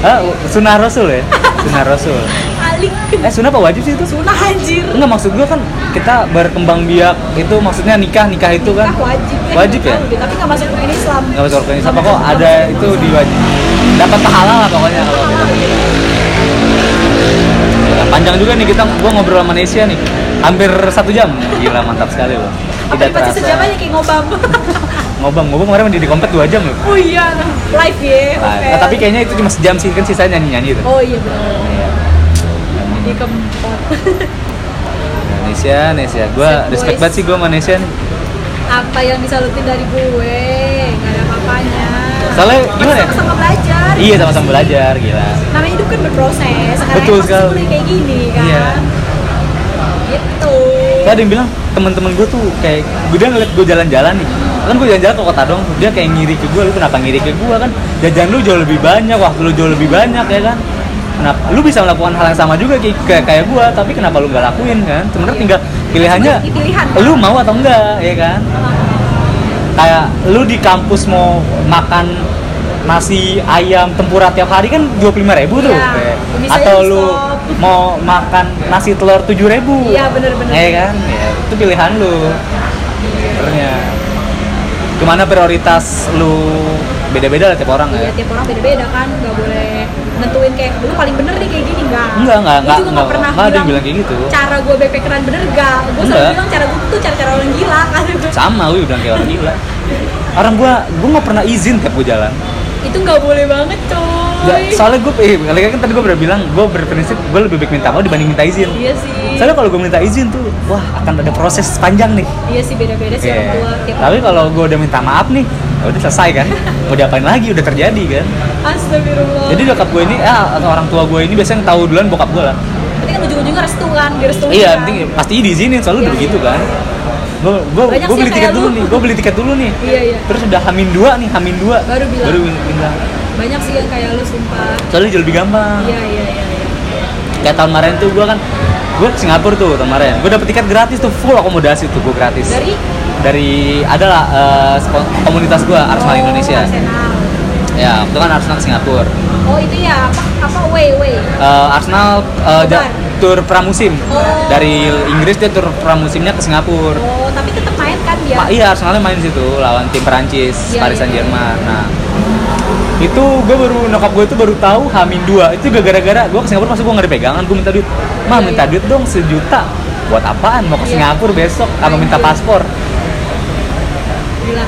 Speaker 1: ah, sunah rasul ya sunah rasul
Speaker 2: Alik,
Speaker 1: eh sunah apa wajib sih itu
Speaker 2: sunah anjir
Speaker 1: Enggak maksud gue kan kita berkembang biak itu maksudnya nikah nikah itu kan
Speaker 2: Nikah wajib Eh,
Speaker 1: wajib ya
Speaker 2: nggak tahu deh, Tapi gak masuk ke Islam
Speaker 1: nggak masuk organisasi apa kok ada itu di wajib dapat pahala lah pokoknya kalau kita Nah, panjang juga nih kita gua ngobrol sama Nesya nih hampir satu jam gila mantap sekali loh
Speaker 2: Apa
Speaker 1: tidak
Speaker 2: pasti
Speaker 1: terasa
Speaker 2: sejam aja kayak ngobam [laughs]
Speaker 1: ngobam ngobam kemarin mandi di kompet dua jam loh
Speaker 2: Oh iya, live ya
Speaker 1: Nah,
Speaker 2: hotel.
Speaker 1: tapi kayaknya itu cuma sejam sih kan sisanya nyanyi nyanyi itu
Speaker 2: Oh iya bener Di kempot
Speaker 1: Nesya Nesya gue
Speaker 2: Set
Speaker 1: respect
Speaker 2: boys.
Speaker 1: banget sih gue sama Nesya nih
Speaker 2: apa yang disalutin dari gue nggak ada apa-apanya
Speaker 1: Soalnya gimana ya?
Speaker 2: Kita sama-sama belajar
Speaker 1: iya sama-sama belajar gila
Speaker 2: namanya hidup kan berproses sekarang
Speaker 1: Betul
Speaker 2: proses
Speaker 1: sekali.
Speaker 2: mulai kayak gini kan
Speaker 1: Iya. Kan-
Speaker 2: gitu
Speaker 1: Saya ada yang bilang teman-teman gue tuh kayak gue dia ngeliat gue jalan-jalan nih. Kan gue jalan-jalan ke kota dong, dia kayak ngiri ke gue, lu kenapa ngiri ke gue kan? Jajan lu jauh lebih banyak, waktu lu jauh lebih banyak ya kan? kenapa lu bisa melakukan hal yang sama juga Ki, kayak kayak gua tapi kenapa lu nggak lakuin kan sebenarnya tinggal pilihannya
Speaker 2: Ini pilihan.
Speaker 1: lu mau atau enggak ya kan kayak lu di kampus mau makan nasi ayam tempura tiap hari kan 25.000 tuh
Speaker 2: Iya,
Speaker 1: kayak.
Speaker 2: misalnya
Speaker 1: atau
Speaker 2: di
Speaker 1: lu
Speaker 2: stop.
Speaker 1: mau makan nasi telur 7.000
Speaker 2: Iya, bener-bener.
Speaker 1: ya kan Ya, itu pilihan lu sebenarnya gimana prioritas lu beda-beda lah tiap orang
Speaker 2: Iya,
Speaker 1: ya
Speaker 2: tiap orang beda-beda kan, nggak boleh nentuin kayak lu paling bener nih kayak gini nggak?
Speaker 1: Enggak, enggak,
Speaker 2: Gua
Speaker 1: enggak,
Speaker 2: juga
Speaker 1: enggak,
Speaker 2: nggak pernah
Speaker 1: enggak ada yang
Speaker 2: bilang,
Speaker 1: bilang kayak gitu.
Speaker 2: Cara gue backpackeran bener nggak? Gue selalu
Speaker 1: Enggak.
Speaker 2: bilang cara gue tuh cara-cara orang gila [laughs] kan.
Speaker 1: sama lu bilang kayak orang gila orang gua gua nggak pernah izin tiap gua jalan
Speaker 2: Itu nggak boleh banget coy.
Speaker 1: Ya, soalnya gua eh, kali kan tadi gua udah bilang gua berprinsip gua lebih baik minta mau dibanding minta izin
Speaker 2: Iya sih.
Speaker 1: soalnya kalau gua minta izin tuh wah akan ada proses panjang nih
Speaker 2: Iya sih beda-beda sih orang
Speaker 1: Iya.
Speaker 2: tua tiap
Speaker 1: tapi kalau gua udah minta maaf nih ya udah selesai
Speaker 2: [laughs]
Speaker 1: kan mau diapain lagi udah terjadi kan
Speaker 2: Astagfirullah.
Speaker 1: jadi nyokap gue ini eh, atau orang tua gue ini biasanya yang tahu duluan bokap gue lah
Speaker 2: Berarti kan ujung-ujungnya restu kan, direstuin.
Speaker 1: Iya,
Speaker 2: kan?
Speaker 1: penting pasti diizinin soalnya udah
Speaker 2: Iya,
Speaker 1: begitu
Speaker 2: iya.
Speaker 1: kan. Gue gue
Speaker 2: Banyak
Speaker 1: gue beli
Speaker 2: sih yang
Speaker 1: tiket
Speaker 2: kayak
Speaker 1: dulu
Speaker 2: lu.
Speaker 1: nih, gue beli tiket dulu nih.
Speaker 2: Iya, iya.
Speaker 1: Terus udah hamin dua nih, hamin dua.
Speaker 2: Baru bilang.
Speaker 1: Baru bilang.
Speaker 2: Banyak sih yang kayak lu sumpah.
Speaker 1: Soalnya jauh lebih gampang.
Speaker 2: Iya, iya, iya. iya.
Speaker 1: Kayak tahun kemarin tuh gue kan gue ke Singapura tuh tahun kemarin. Gue dapet tiket gratis tuh full akomodasi tuh gue gratis.
Speaker 2: Dari
Speaker 1: Dari adalah eh, spon- komunitas gue Arsenal
Speaker 2: Oh,
Speaker 1: Indonesia.
Speaker 2: Arsenal.
Speaker 1: Ya, itu kan Arsenal ke Singapura.
Speaker 2: Oh, itu ya apa apa way way.
Speaker 1: Eh, Arsenal eh, ja-
Speaker 2: Bukan.
Speaker 1: tur pramusim
Speaker 2: Oh.
Speaker 1: dari Inggris dia tur pramusimnya ke Singapura.
Speaker 2: Oh, tapi tetap main kan dia.
Speaker 1: Pak iya Arsenalnya main di situ lawan tim Perancis
Speaker 2: Iya,
Speaker 1: Paris
Speaker 2: iya.
Speaker 1: Saint Germain. Nah itu gue baru nyokap gue itu baru tahu Hamin dua itu juga gara-gara gue ke Singapura masuk gue nggak ada pegangan gue minta duit mah
Speaker 2: Iya,
Speaker 1: minta
Speaker 2: iya.
Speaker 1: duit dong sejuta buat apaan mau ke
Speaker 2: Iya.
Speaker 1: Singapura besok sama minta
Speaker 2: Iya.
Speaker 1: paspor
Speaker 2: Gila.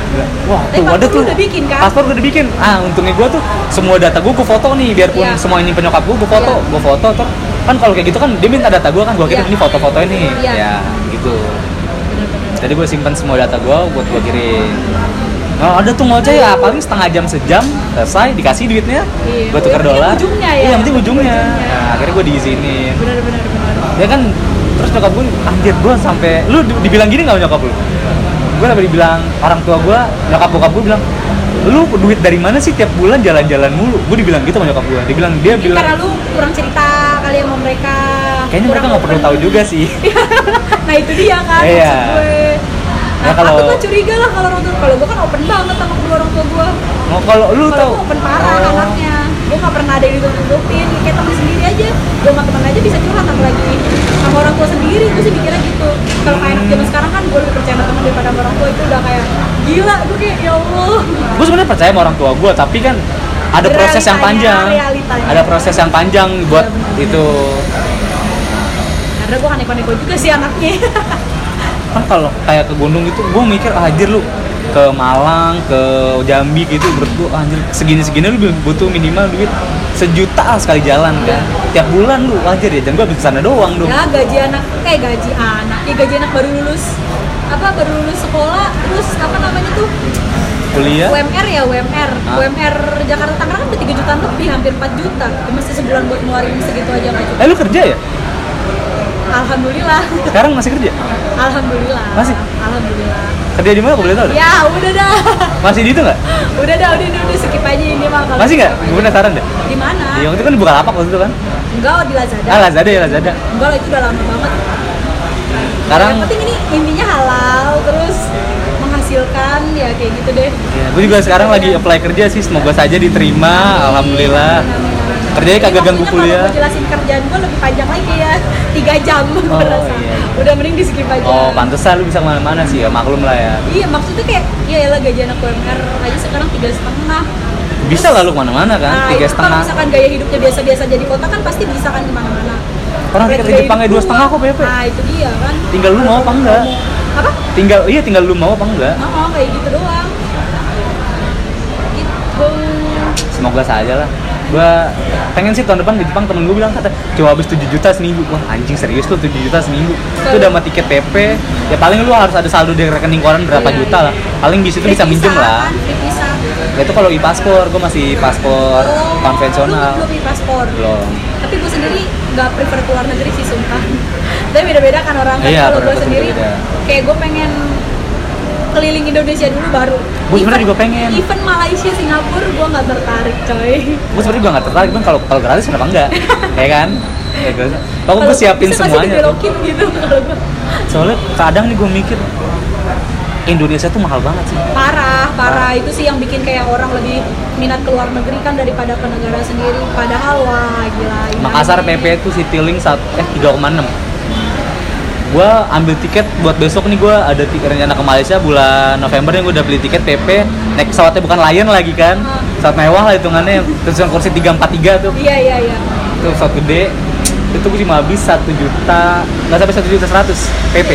Speaker 1: wah
Speaker 2: Tapi
Speaker 1: tuh ada
Speaker 2: paspor lu
Speaker 1: tuh
Speaker 2: udah bikin, kan?
Speaker 1: paspor gue udah bikin ah untungnya gue tuh semua data gue gue foto nih biarpun
Speaker 2: Iya.
Speaker 1: semua ini penyokap gue gue foto
Speaker 2: Iya.
Speaker 1: gue foto tuh kan kalau kayak gitu kan dia minta data gue kan gue kira
Speaker 2: Iya.
Speaker 1: ini foto-foto ini
Speaker 2: Iya.
Speaker 1: ya gitu
Speaker 2: Bener-bener.
Speaker 1: jadi gue simpan semua data gue buat gue kirim Nah, ada tuh ngoceh ya paling setengah jam sejam selesai dikasih duitnya
Speaker 2: Iya.
Speaker 1: gue tuker
Speaker 2: Oh, yang penting
Speaker 1: dolar
Speaker 2: ujungnya ya.
Speaker 1: iya yang penting ujungnya
Speaker 2: Ujungnya.
Speaker 1: Nah, akhirnya gue diizinin
Speaker 2: Bener-bener bener.
Speaker 1: ya kan terus nyokap gue anjir gue sampai lu di- dibilang gini nggak sama nyokap lu gue sampai dibilang orang tua gue nyokap bokap gue bilang lu duit dari mana sih tiap bulan jalan-jalan mulu gue dibilang gitu sama nyokap gue dibilang dia
Speaker 2: Mungkin karena
Speaker 1: bilang
Speaker 2: lu kurang cerita kali sama mereka.
Speaker 1: kayaknya mereka
Speaker 2: Kurang
Speaker 1: nggak perlu
Speaker 2: open.
Speaker 1: tahu juga sih
Speaker 2: [laughs] Nah, itu dia kan
Speaker 1: Iya.
Speaker 2: maksud gue.
Speaker 1: Ya,
Speaker 2: Nah,
Speaker 1: kalau-
Speaker 2: aku tuh curiga lah kalau orang tua kalau gue kan open banget sama kedua orang tua gue.
Speaker 1: Nah, kalau lu
Speaker 2: Kalau
Speaker 1: tahu
Speaker 2: gue open parah
Speaker 1: Oh.
Speaker 2: anaknya. Gue gak pernah ada yang ditutup-tutupin. Kayak temen sendiri aja. Gue sama temen aja bisa curhat apalagi sama orang tua sendiri. Gue sih mikirnya gitu. Kalau kayak anak zaman sekarang kan gue lebih percaya sama temen daripada sama orang tua itu udah kayak gila. Gue kayak ya Allah.
Speaker 1: gue sebenarnya percaya sama orang tua gue tapi kan ada proses yang
Speaker 2: Realitanya,
Speaker 1: panjang
Speaker 2: realitanya. Iya,
Speaker 1: ada proses yang panjang buat itu
Speaker 2: Karena gue kan neko-neko juga sih anaknya.
Speaker 1: kan kalau kayak ke gunung gitu gue mikir ah, anjir lu ke Malang ke Jambi gitu menurut gue ah, anjir segini segini lu butuh minimal duit sejuta lah sekali jalan kan tiap bulan lu anjir ya jangan gue habis sana doang dong
Speaker 2: ya gaji anak kayak gaji anak. Ya gaji anak baru lulus apa baru lulus sekolah terus apa namanya tuh
Speaker 1: kuliah
Speaker 2: UMR ya UMR
Speaker 1: Hah?
Speaker 2: UMR Jakarta Tangerang kan udah 3 jutaan lebih hampir 4 juta Ya, masih sebulan buat ngeluarin segitu aja nggak cukup
Speaker 1: eh lu kerja ya
Speaker 2: Alhamdulillah
Speaker 1: sekarang masih kerja
Speaker 2: Alhamdulillah
Speaker 1: Masih?
Speaker 2: Alhamdulillah
Speaker 1: kerja di mana gue boleh tahu deh?
Speaker 2: Ya udah dah [laughs]
Speaker 1: masih di itu nggak
Speaker 2: Udah dah udah udah, udah skip aja ini mah kalau gitu.
Speaker 1: masih nggak gue penasaran deh
Speaker 2: Di mana?
Speaker 1: yang itu kan bukan lapak waktu itu kan
Speaker 2: Enggak di Lazada
Speaker 1: ah Lazada ya Lazada
Speaker 2: Enggak lah itu udah lama banget
Speaker 1: sekarang
Speaker 2: Yang penting ini intinya halal Terus menghasilkan ya kayak gitu deh
Speaker 1: Ya, gue juga sekarang lagi apply kerja sih, semoga saja diterima, alhamdulillah. Kerjanya kagak
Speaker 2: Ini
Speaker 1: ganggu
Speaker 2: waktunya Kalau
Speaker 1: kuliah.
Speaker 2: gue jelasin kerjaan gue lebih panjang lagi ya, [laughs] tiga jam.
Speaker 1: Oh,
Speaker 2: gue rasa.
Speaker 1: iya.
Speaker 2: Udah mending di skip aja.
Speaker 1: Oh, pantesan lu bisa kemana-mana sih ya, maklum lah ya.
Speaker 2: Iya maksudnya kayak ya lah gaji anak UMR aja sekarang tiga setengah.
Speaker 1: Bisa lah lu kemana-mana kan,
Speaker 2: Nah,
Speaker 1: tiga
Speaker 2: itu Kalau
Speaker 1: setengah.
Speaker 2: misalkan gaya hidupnya biasa-biasa jadi kota kan pasti bisa kan kemana-mana.
Speaker 1: Orang
Speaker 2: Gaya-
Speaker 1: tiket
Speaker 2: gaya
Speaker 1: Jepangnya
Speaker 2: hidup
Speaker 1: dua setengah kok,
Speaker 2: gua.
Speaker 1: Beb.
Speaker 2: Nah itu dia kan.
Speaker 1: Tinggal lu mau apa enggak?
Speaker 2: Apa?
Speaker 1: Tinggal, iya tinggal lu mau apa enggak?
Speaker 2: Oh, oh kayak gitu doang. Gitu.
Speaker 1: Semoga saja lah. Gua pengen sih tahun depan ke Jepang temen gue bilang kata coba habis 7 juta seminggu wah anjing serius lu 7 juta seminggu itu udah sama tiket PP ya paling lu harus ada saldo di rekening koran berapa
Speaker 2: Iya,
Speaker 1: juta
Speaker 2: iya.
Speaker 1: lah paling di situ bisa
Speaker 2: Free
Speaker 1: minjem
Speaker 2: visa
Speaker 1: lah
Speaker 2: kan, free visa.
Speaker 1: Ya, itu kalau di paspor gue masih paspor
Speaker 2: Oh,
Speaker 1: konvensional
Speaker 2: lu belum di paspor.
Speaker 1: belum
Speaker 2: tapi gue sendiri nggak prefer keluar negeri sih sumpah tapi beda-beda kan orang kan
Speaker 1: Iya,
Speaker 2: kalau gue
Speaker 1: pendapat
Speaker 2: sendiri
Speaker 1: beda-beda.
Speaker 2: kayak gue pengen keliling Indonesia dulu baru
Speaker 1: Gua sebenarnya
Speaker 2: Even-
Speaker 1: juga pengen.
Speaker 2: even Malaysia Singapura gue nggak tertarik coy
Speaker 1: gue sebenarnya juga nggak tertarik bang kalau kalau gratis kenapa enggak ya kan ya gue kalau gue siapin
Speaker 2: bisa pasti
Speaker 1: semuanya tuh.
Speaker 2: dibelokin gitu kalau gua.
Speaker 1: soalnya kadang nih gue mikir Indonesia tuh mahal banget sih
Speaker 2: parah parah itu sih yang bikin kayak orang lebih minat ke luar negeri kan daripada ke negara sendiri padahal wah gila ini
Speaker 1: Makassar
Speaker 2: aneh.
Speaker 1: PP itu city link saat eh 3,6 gua ambil tiket buat besok nih gua ada ti- rencana ke Malaysia bulan November yang gua udah beli tiket PP naik pesawatnya bukan Lion lagi kan
Speaker 2: Ah.
Speaker 1: pesawat mewah lah hitungannya terus yang kursi 343 tuh
Speaker 2: iya iya iya
Speaker 1: itu pesawat gede itu gue cuma habis 1 juta nggak sampai 1 juta 100 PP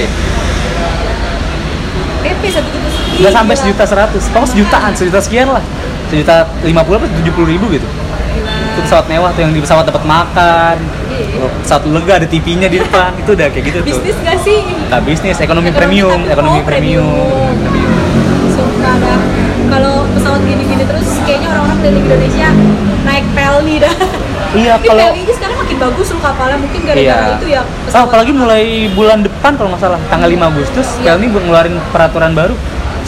Speaker 2: PP satu juta sekian,
Speaker 1: nggak sampai
Speaker 2: gila.
Speaker 1: sejuta 100 pokoknya sejutaan sejuta sekian lah sejuta 50 apa 70 ribu gitu
Speaker 2: Gila.
Speaker 1: itu pesawat mewah tuh yang di pesawat dapat makan
Speaker 2: Iya.
Speaker 1: pesawat lega ada TV-nya di depan itu udah kayak gitu tuh
Speaker 2: bisnis gak sih
Speaker 1: Nah, bisnis ekonomi
Speaker 2: Ekonomi
Speaker 1: premium,
Speaker 2: tapi-
Speaker 1: ekonomi
Speaker 2: oh,
Speaker 1: premium.
Speaker 2: premium. sumpah dah kalau pesawat gini-gini terus kayaknya orang-orang dari Indonesia naik pelni dah
Speaker 1: Iya,
Speaker 2: tapi
Speaker 1: kalau
Speaker 2: pelni sekarang makin bagus loh kapalnya mungkin gara-gara
Speaker 1: iya.
Speaker 2: itu ya
Speaker 1: Oh,
Speaker 2: pesawat-
Speaker 1: apalagi mulai bulan depan kalau nggak salah, tanggal 5 Agustus,
Speaker 2: Iya.
Speaker 1: Pelni ngeluarin peraturan baru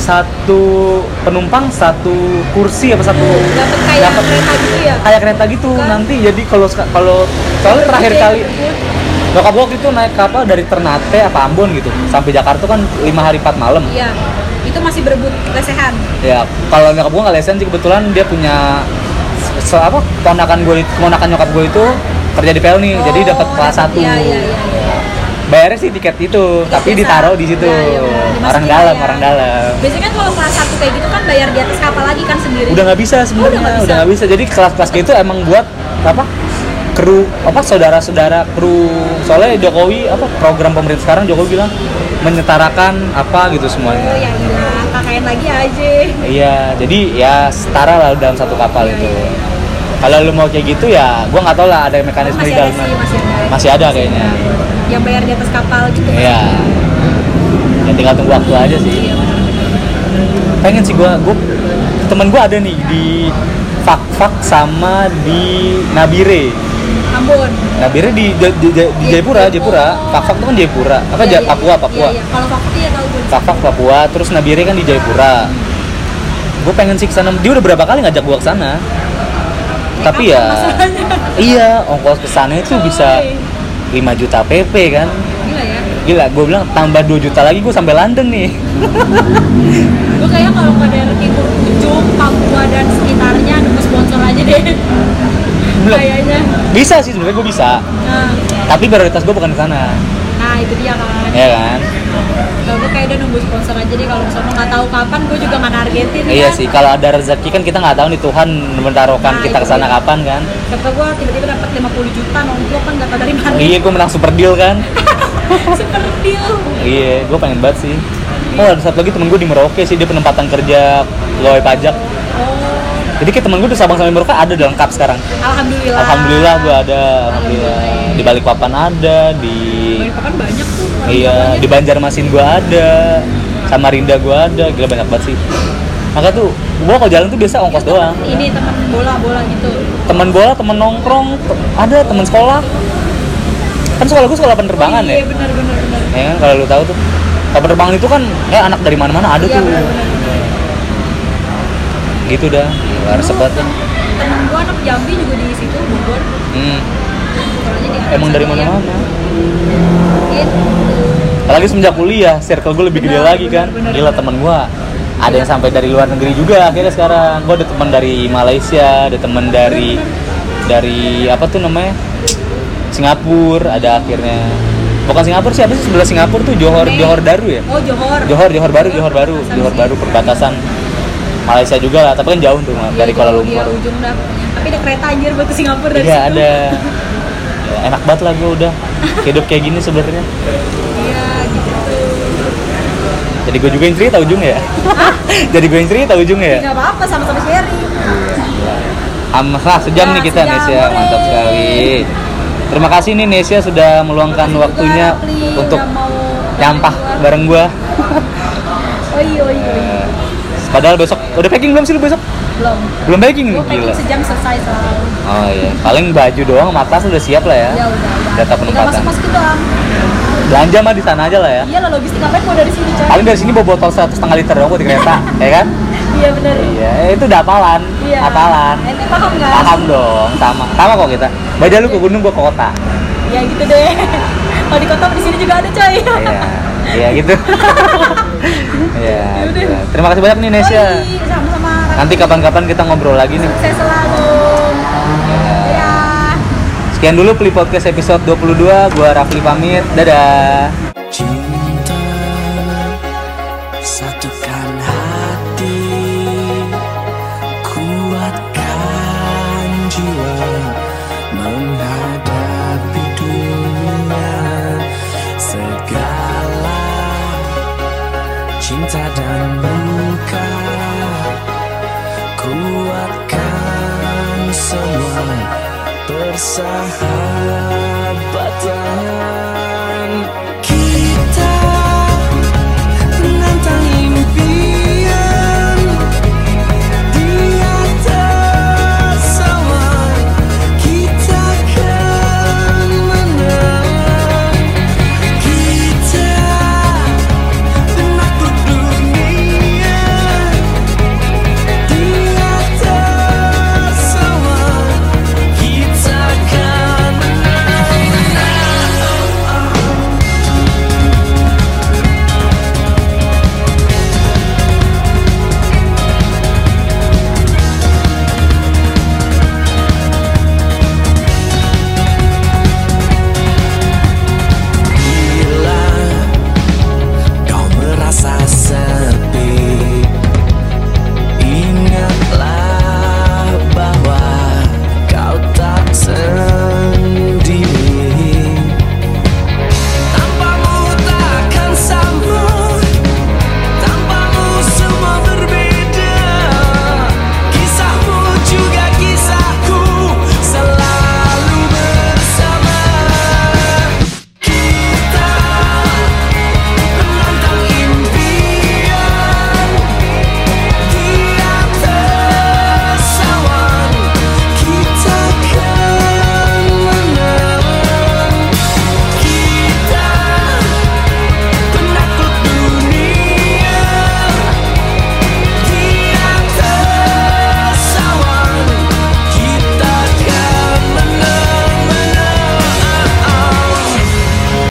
Speaker 1: satu penumpang satu kursi apa satu
Speaker 2: dapat kayak
Speaker 1: dapat
Speaker 2: kereta gitu ya
Speaker 1: kayak kereta gitu
Speaker 2: Kan.
Speaker 1: nanti jadi kalau ska- kalau soalnya terakhir
Speaker 2: Gede,
Speaker 1: kali
Speaker 2: gede.
Speaker 1: Bokap gue waktu itu naik kapal dari Ternate apa Ambon gitu sampai Jakarta kan lima hari 4 malam
Speaker 2: iya itu masih berebut lesehan
Speaker 1: ya kalau nyokap gue nggak lesen sih kebetulan dia punya se apa ponakan gue ponakan nyokap gue itu kerja di Pelni Iya, jadi
Speaker 2: Oh,
Speaker 1: dapat kelas
Speaker 2: dapet-
Speaker 1: satu
Speaker 2: iya iya iya iya.
Speaker 1: bayarnya sih tiket itu
Speaker 2: Tiket
Speaker 1: tapi
Speaker 2: biasa.
Speaker 1: ditaruh di situ
Speaker 2: Iya, iya, benar. Dimasukin ya.
Speaker 1: orang dalam
Speaker 2: bayar.
Speaker 1: orang dalam
Speaker 2: biasanya kan kalau kelas satu kayak gitu kan bayar di atas kapal lagi kan sendiri
Speaker 1: udah nggak bisa
Speaker 2: Oh, udah nggak
Speaker 1: sebenarnya
Speaker 2: bisa.
Speaker 1: udah nggak bisa. jadi kelas-kelas kayak itu emang buat apa kru apa saudara-saudara kru soalnya Jokowi apa program pemerintah sekarang Jokowi bilang menyetarakan apa gitu
Speaker 2: oh
Speaker 1: semuanya
Speaker 2: ya ilah pakaian lagi aja
Speaker 1: iya jadi ya setara lah dalam satu kapal
Speaker 2: Iya,
Speaker 1: itu
Speaker 2: iya, iya.
Speaker 1: kalau lu mau kayak gitu ya gua nggak tahu lah ada
Speaker 2: Kan
Speaker 1: mekanisme di
Speaker 2: masih ada
Speaker 1: dalamnya
Speaker 2: sih masih ada
Speaker 1: masih ada kayaknya
Speaker 2: yang bayar di atas kapal gitu
Speaker 1: ya ya tinggal tunggu waktu aja sih
Speaker 2: Iya, benar.
Speaker 1: pengen sih gua gua temen gua ada nih di Fak-Fak sama di Nabire
Speaker 2: Ambon
Speaker 1: Nah, biasanya di, di, di, di- di Jayapura, Jayapura.
Speaker 2: Oh.
Speaker 1: Pakpak itu kan Jayapura. Apa
Speaker 2: Iya,
Speaker 1: Ja-
Speaker 2: iya.
Speaker 1: Papua, Papua.
Speaker 2: Iya, iya. kalau Papua ya tahu gue
Speaker 1: Pakpak Papua, terus Nabire kan di Jayapura. Gue pengen sih kesana. Dia udah berapa kali ngajak gue kesana. Tapi
Speaker 2: Apa
Speaker 1: ya,
Speaker 2: masalahnya?
Speaker 1: iya ongkos kesannya itu bisa
Speaker 2: Coy.
Speaker 1: 5 juta PP kan.
Speaker 2: gila ya
Speaker 1: Gila, gue bilang tambah 2 juta lagi gue sampai London nih. [laughs]
Speaker 2: gue kayaknya kalau ke daerah timur ujung Papua dan sekitarnya nunggu sponsor aja deh
Speaker 1: [laughs] Belum.
Speaker 2: kayaknya
Speaker 1: Bisa sih sebenarnya gue bisa,
Speaker 2: nah,
Speaker 1: tapi prioritas gue bukan kesana,
Speaker 2: nah itu dia kan
Speaker 1: ya kan?
Speaker 2: kalau gue kayak udah nunggu sponsor aja deh kalau misalnya nggak tahu kapan gue juga nggak nargetin
Speaker 1: Iya
Speaker 2: kan.
Speaker 1: sih, kalau ada rezeki kan kita nggak tahu nih Tuhan mentaruhkan
Speaker 2: Nah,
Speaker 1: kita
Speaker 2: itu
Speaker 1: kesana
Speaker 2: dia.
Speaker 1: kapan kan?
Speaker 2: kata gue tiba-tiba dapat 50 juta nongkrong kan nggak tahu dari mana [laughs]
Speaker 1: Iya, gue menang super deal kan?
Speaker 2: seperti itu
Speaker 1: Iya, gue pengen banget sih. Oh, ada satu lagi temen gue di Merauke sih, dia penempatan kerja pegawai pajak.
Speaker 2: oh
Speaker 1: Jadi kayak temen gue di Sabang sampai Merauke ada udah lengkap sekarang.
Speaker 2: alhamdulillah
Speaker 1: Alhamdulillah gue ada, alhamdulillah. Di Balikpapan ada, di
Speaker 2: kan banyak tuh orang
Speaker 1: iya,
Speaker 2: tuanya.
Speaker 1: di Banjarmasin gue ada, Samarinda gue ada, gila banyak banget sih. Maka tuh, gue kalau jalan tuh biasa ongkos
Speaker 2: Itu temen
Speaker 1: doang.
Speaker 2: ini teman bola bola gitu
Speaker 1: Temen bola, temen nongkrong, te- ada temen sekolah. Kan sekolah gue sekolah penerbangan
Speaker 2: oh,
Speaker 1: ya.
Speaker 2: iya benar benar benar
Speaker 1: Ya kan kalau lu tahu tuh. Kalau penerbangan itu kan ya anak dari mana-mana ada
Speaker 2: iya
Speaker 1: tuh.
Speaker 2: benar benar benar.
Speaker 1: gitu dah harus
Speaker 2: Dulu
Speaker 1: sebat
Speaker 2: tem- temen gue anak Jambi juga di situ Bogor
Speaker 1: hmm.
Speaker 2: sekolahnya di atas
Speaker 1: emang dari
Speaker 2: sana,
Speaker 1: mana
Speaker 2: ya.
Speaker 1: mana
Speaker 2: Gitu.
Speaker 1: apalagi semenjak kuliah circle gue lebih gede
Speaker 2: Benar,
Speaker 1: lagi kan
Speaker 2: benar, benar.
Speaker 1: gila teman gue ada yang sampai dari luar negeri juga akhirnya sekarang gue ada teman dari Malaysia ada teman dari dari apa tuh namanya Singapura ada akhirnya bukan Singapura sih apa sih sebelah Singapura tuh Johor
Speaker 2: Brunei.
Speaker 1: Johor Daru ya
Speaker 2: oh Johor
Speaker 1: Johor Johor baru Johor baru
Speaker 2: Perbatasan
Speaker 1: Johor
Speaker 2: sih.
Speaker 1: baru perbatasan Malaysia juga lah tapi kan jauh tuh
Speaker 2: Iya,
Speaker 1: dari Kuala
Speaker 2: jauh, iya,
Speaker 1: Lumpur
Speaker 2: ujung dah pokoknya. tapi ada kereta anjir buat ke Singapura dari
Speaker 1: Iya
Speaker 2: situ
Speaker 1: ada. Ya, enak banget lah gue udah hidup kayak gini sebenarnya.
Speaker 2: iya gitu
Speaker 1: Jadi gue juga yang cerita ujungnya ya. [laughs] Jadi gue yang cerita ujungnya ya.
Speaker 2: nggak apa-apa sama-sama sharing
Speaker 1: Amrah sejam
Speaker 2: Ya,
Speaker 1: nih kita
Speaker 2: sejam,
Speaker 1: Nesia, mantap
Speaker 2: hore.
Speaker 1: sekali. Terima kasih nih Nesia sudah meluangkan
Speaker 2: Makasih
Speaker 1: waktunya
Speaker 2: juga, Pli, udah
Speaker 1: untuk
Speaker 2: mau
Speaker 1: nyampah
Speaker 2: bantuin
Speaker 1: bareng Eh, gue.
Speaker 2: gua. Oi oi oi. iya,
Speaker 1: Padahal besok udah packing belum sih lu besok?
Speaker 2: belum
Speaker 1: belum baking nih
Speaker 2: gue
Speaker 1: Hmm, gila
Speaker 2: packing sejam selesai selalu
Speaker 1: oh iya paling baju doang sama tas udah siap lah ya
Speaker 2: ya udah udah
Speaker 1: data
Speaker 2: tinggal
Speaker 1: penempatan
Speaker 2: masuk masukin doang
Speaker 1: belanja mah di sana aja lah ya
Speaker 2: iya lah logistik ngapain mau dari sini coy
Speaker 1: paling dari sini bawa botol seratus setengah liter doang buat di kereta ya kan
Speaker 2: iya bener
Speaker 1: iya itu udah apalan
Speaker 2: iya
Speaker 1: apalan
Speaker 2: ente paham nggak
Speaker 1: paham dong sama sama kok kita beda lu ke gunung gua ke kota
Speaker 2: ya gitu deh
Speaker 1: [laughs]
Speaker 2: kalau di kota di sini juga ada coy [laughs]
Speaker 1: iya iya gitu iya
Speaker 2: Yaudah.
Speaker 1: iya. Kan. terima kasih banyak nih Nesya
Speaker 2: Oi, sama-sama
Speaker 1: nanti kapan-kapan kita ngobrol lagi nih
Speaker 2: sukses selalu ya
Speaker 1: Sekian dulu Pli Podcast episode 22. Gua Rafli pamit. Dadah.
Speaker 3: Cinta Satukan hati Kuatkan jiwa Menghadapi dunia Segala Cinta dan luka Kuatkan semua Persahabatan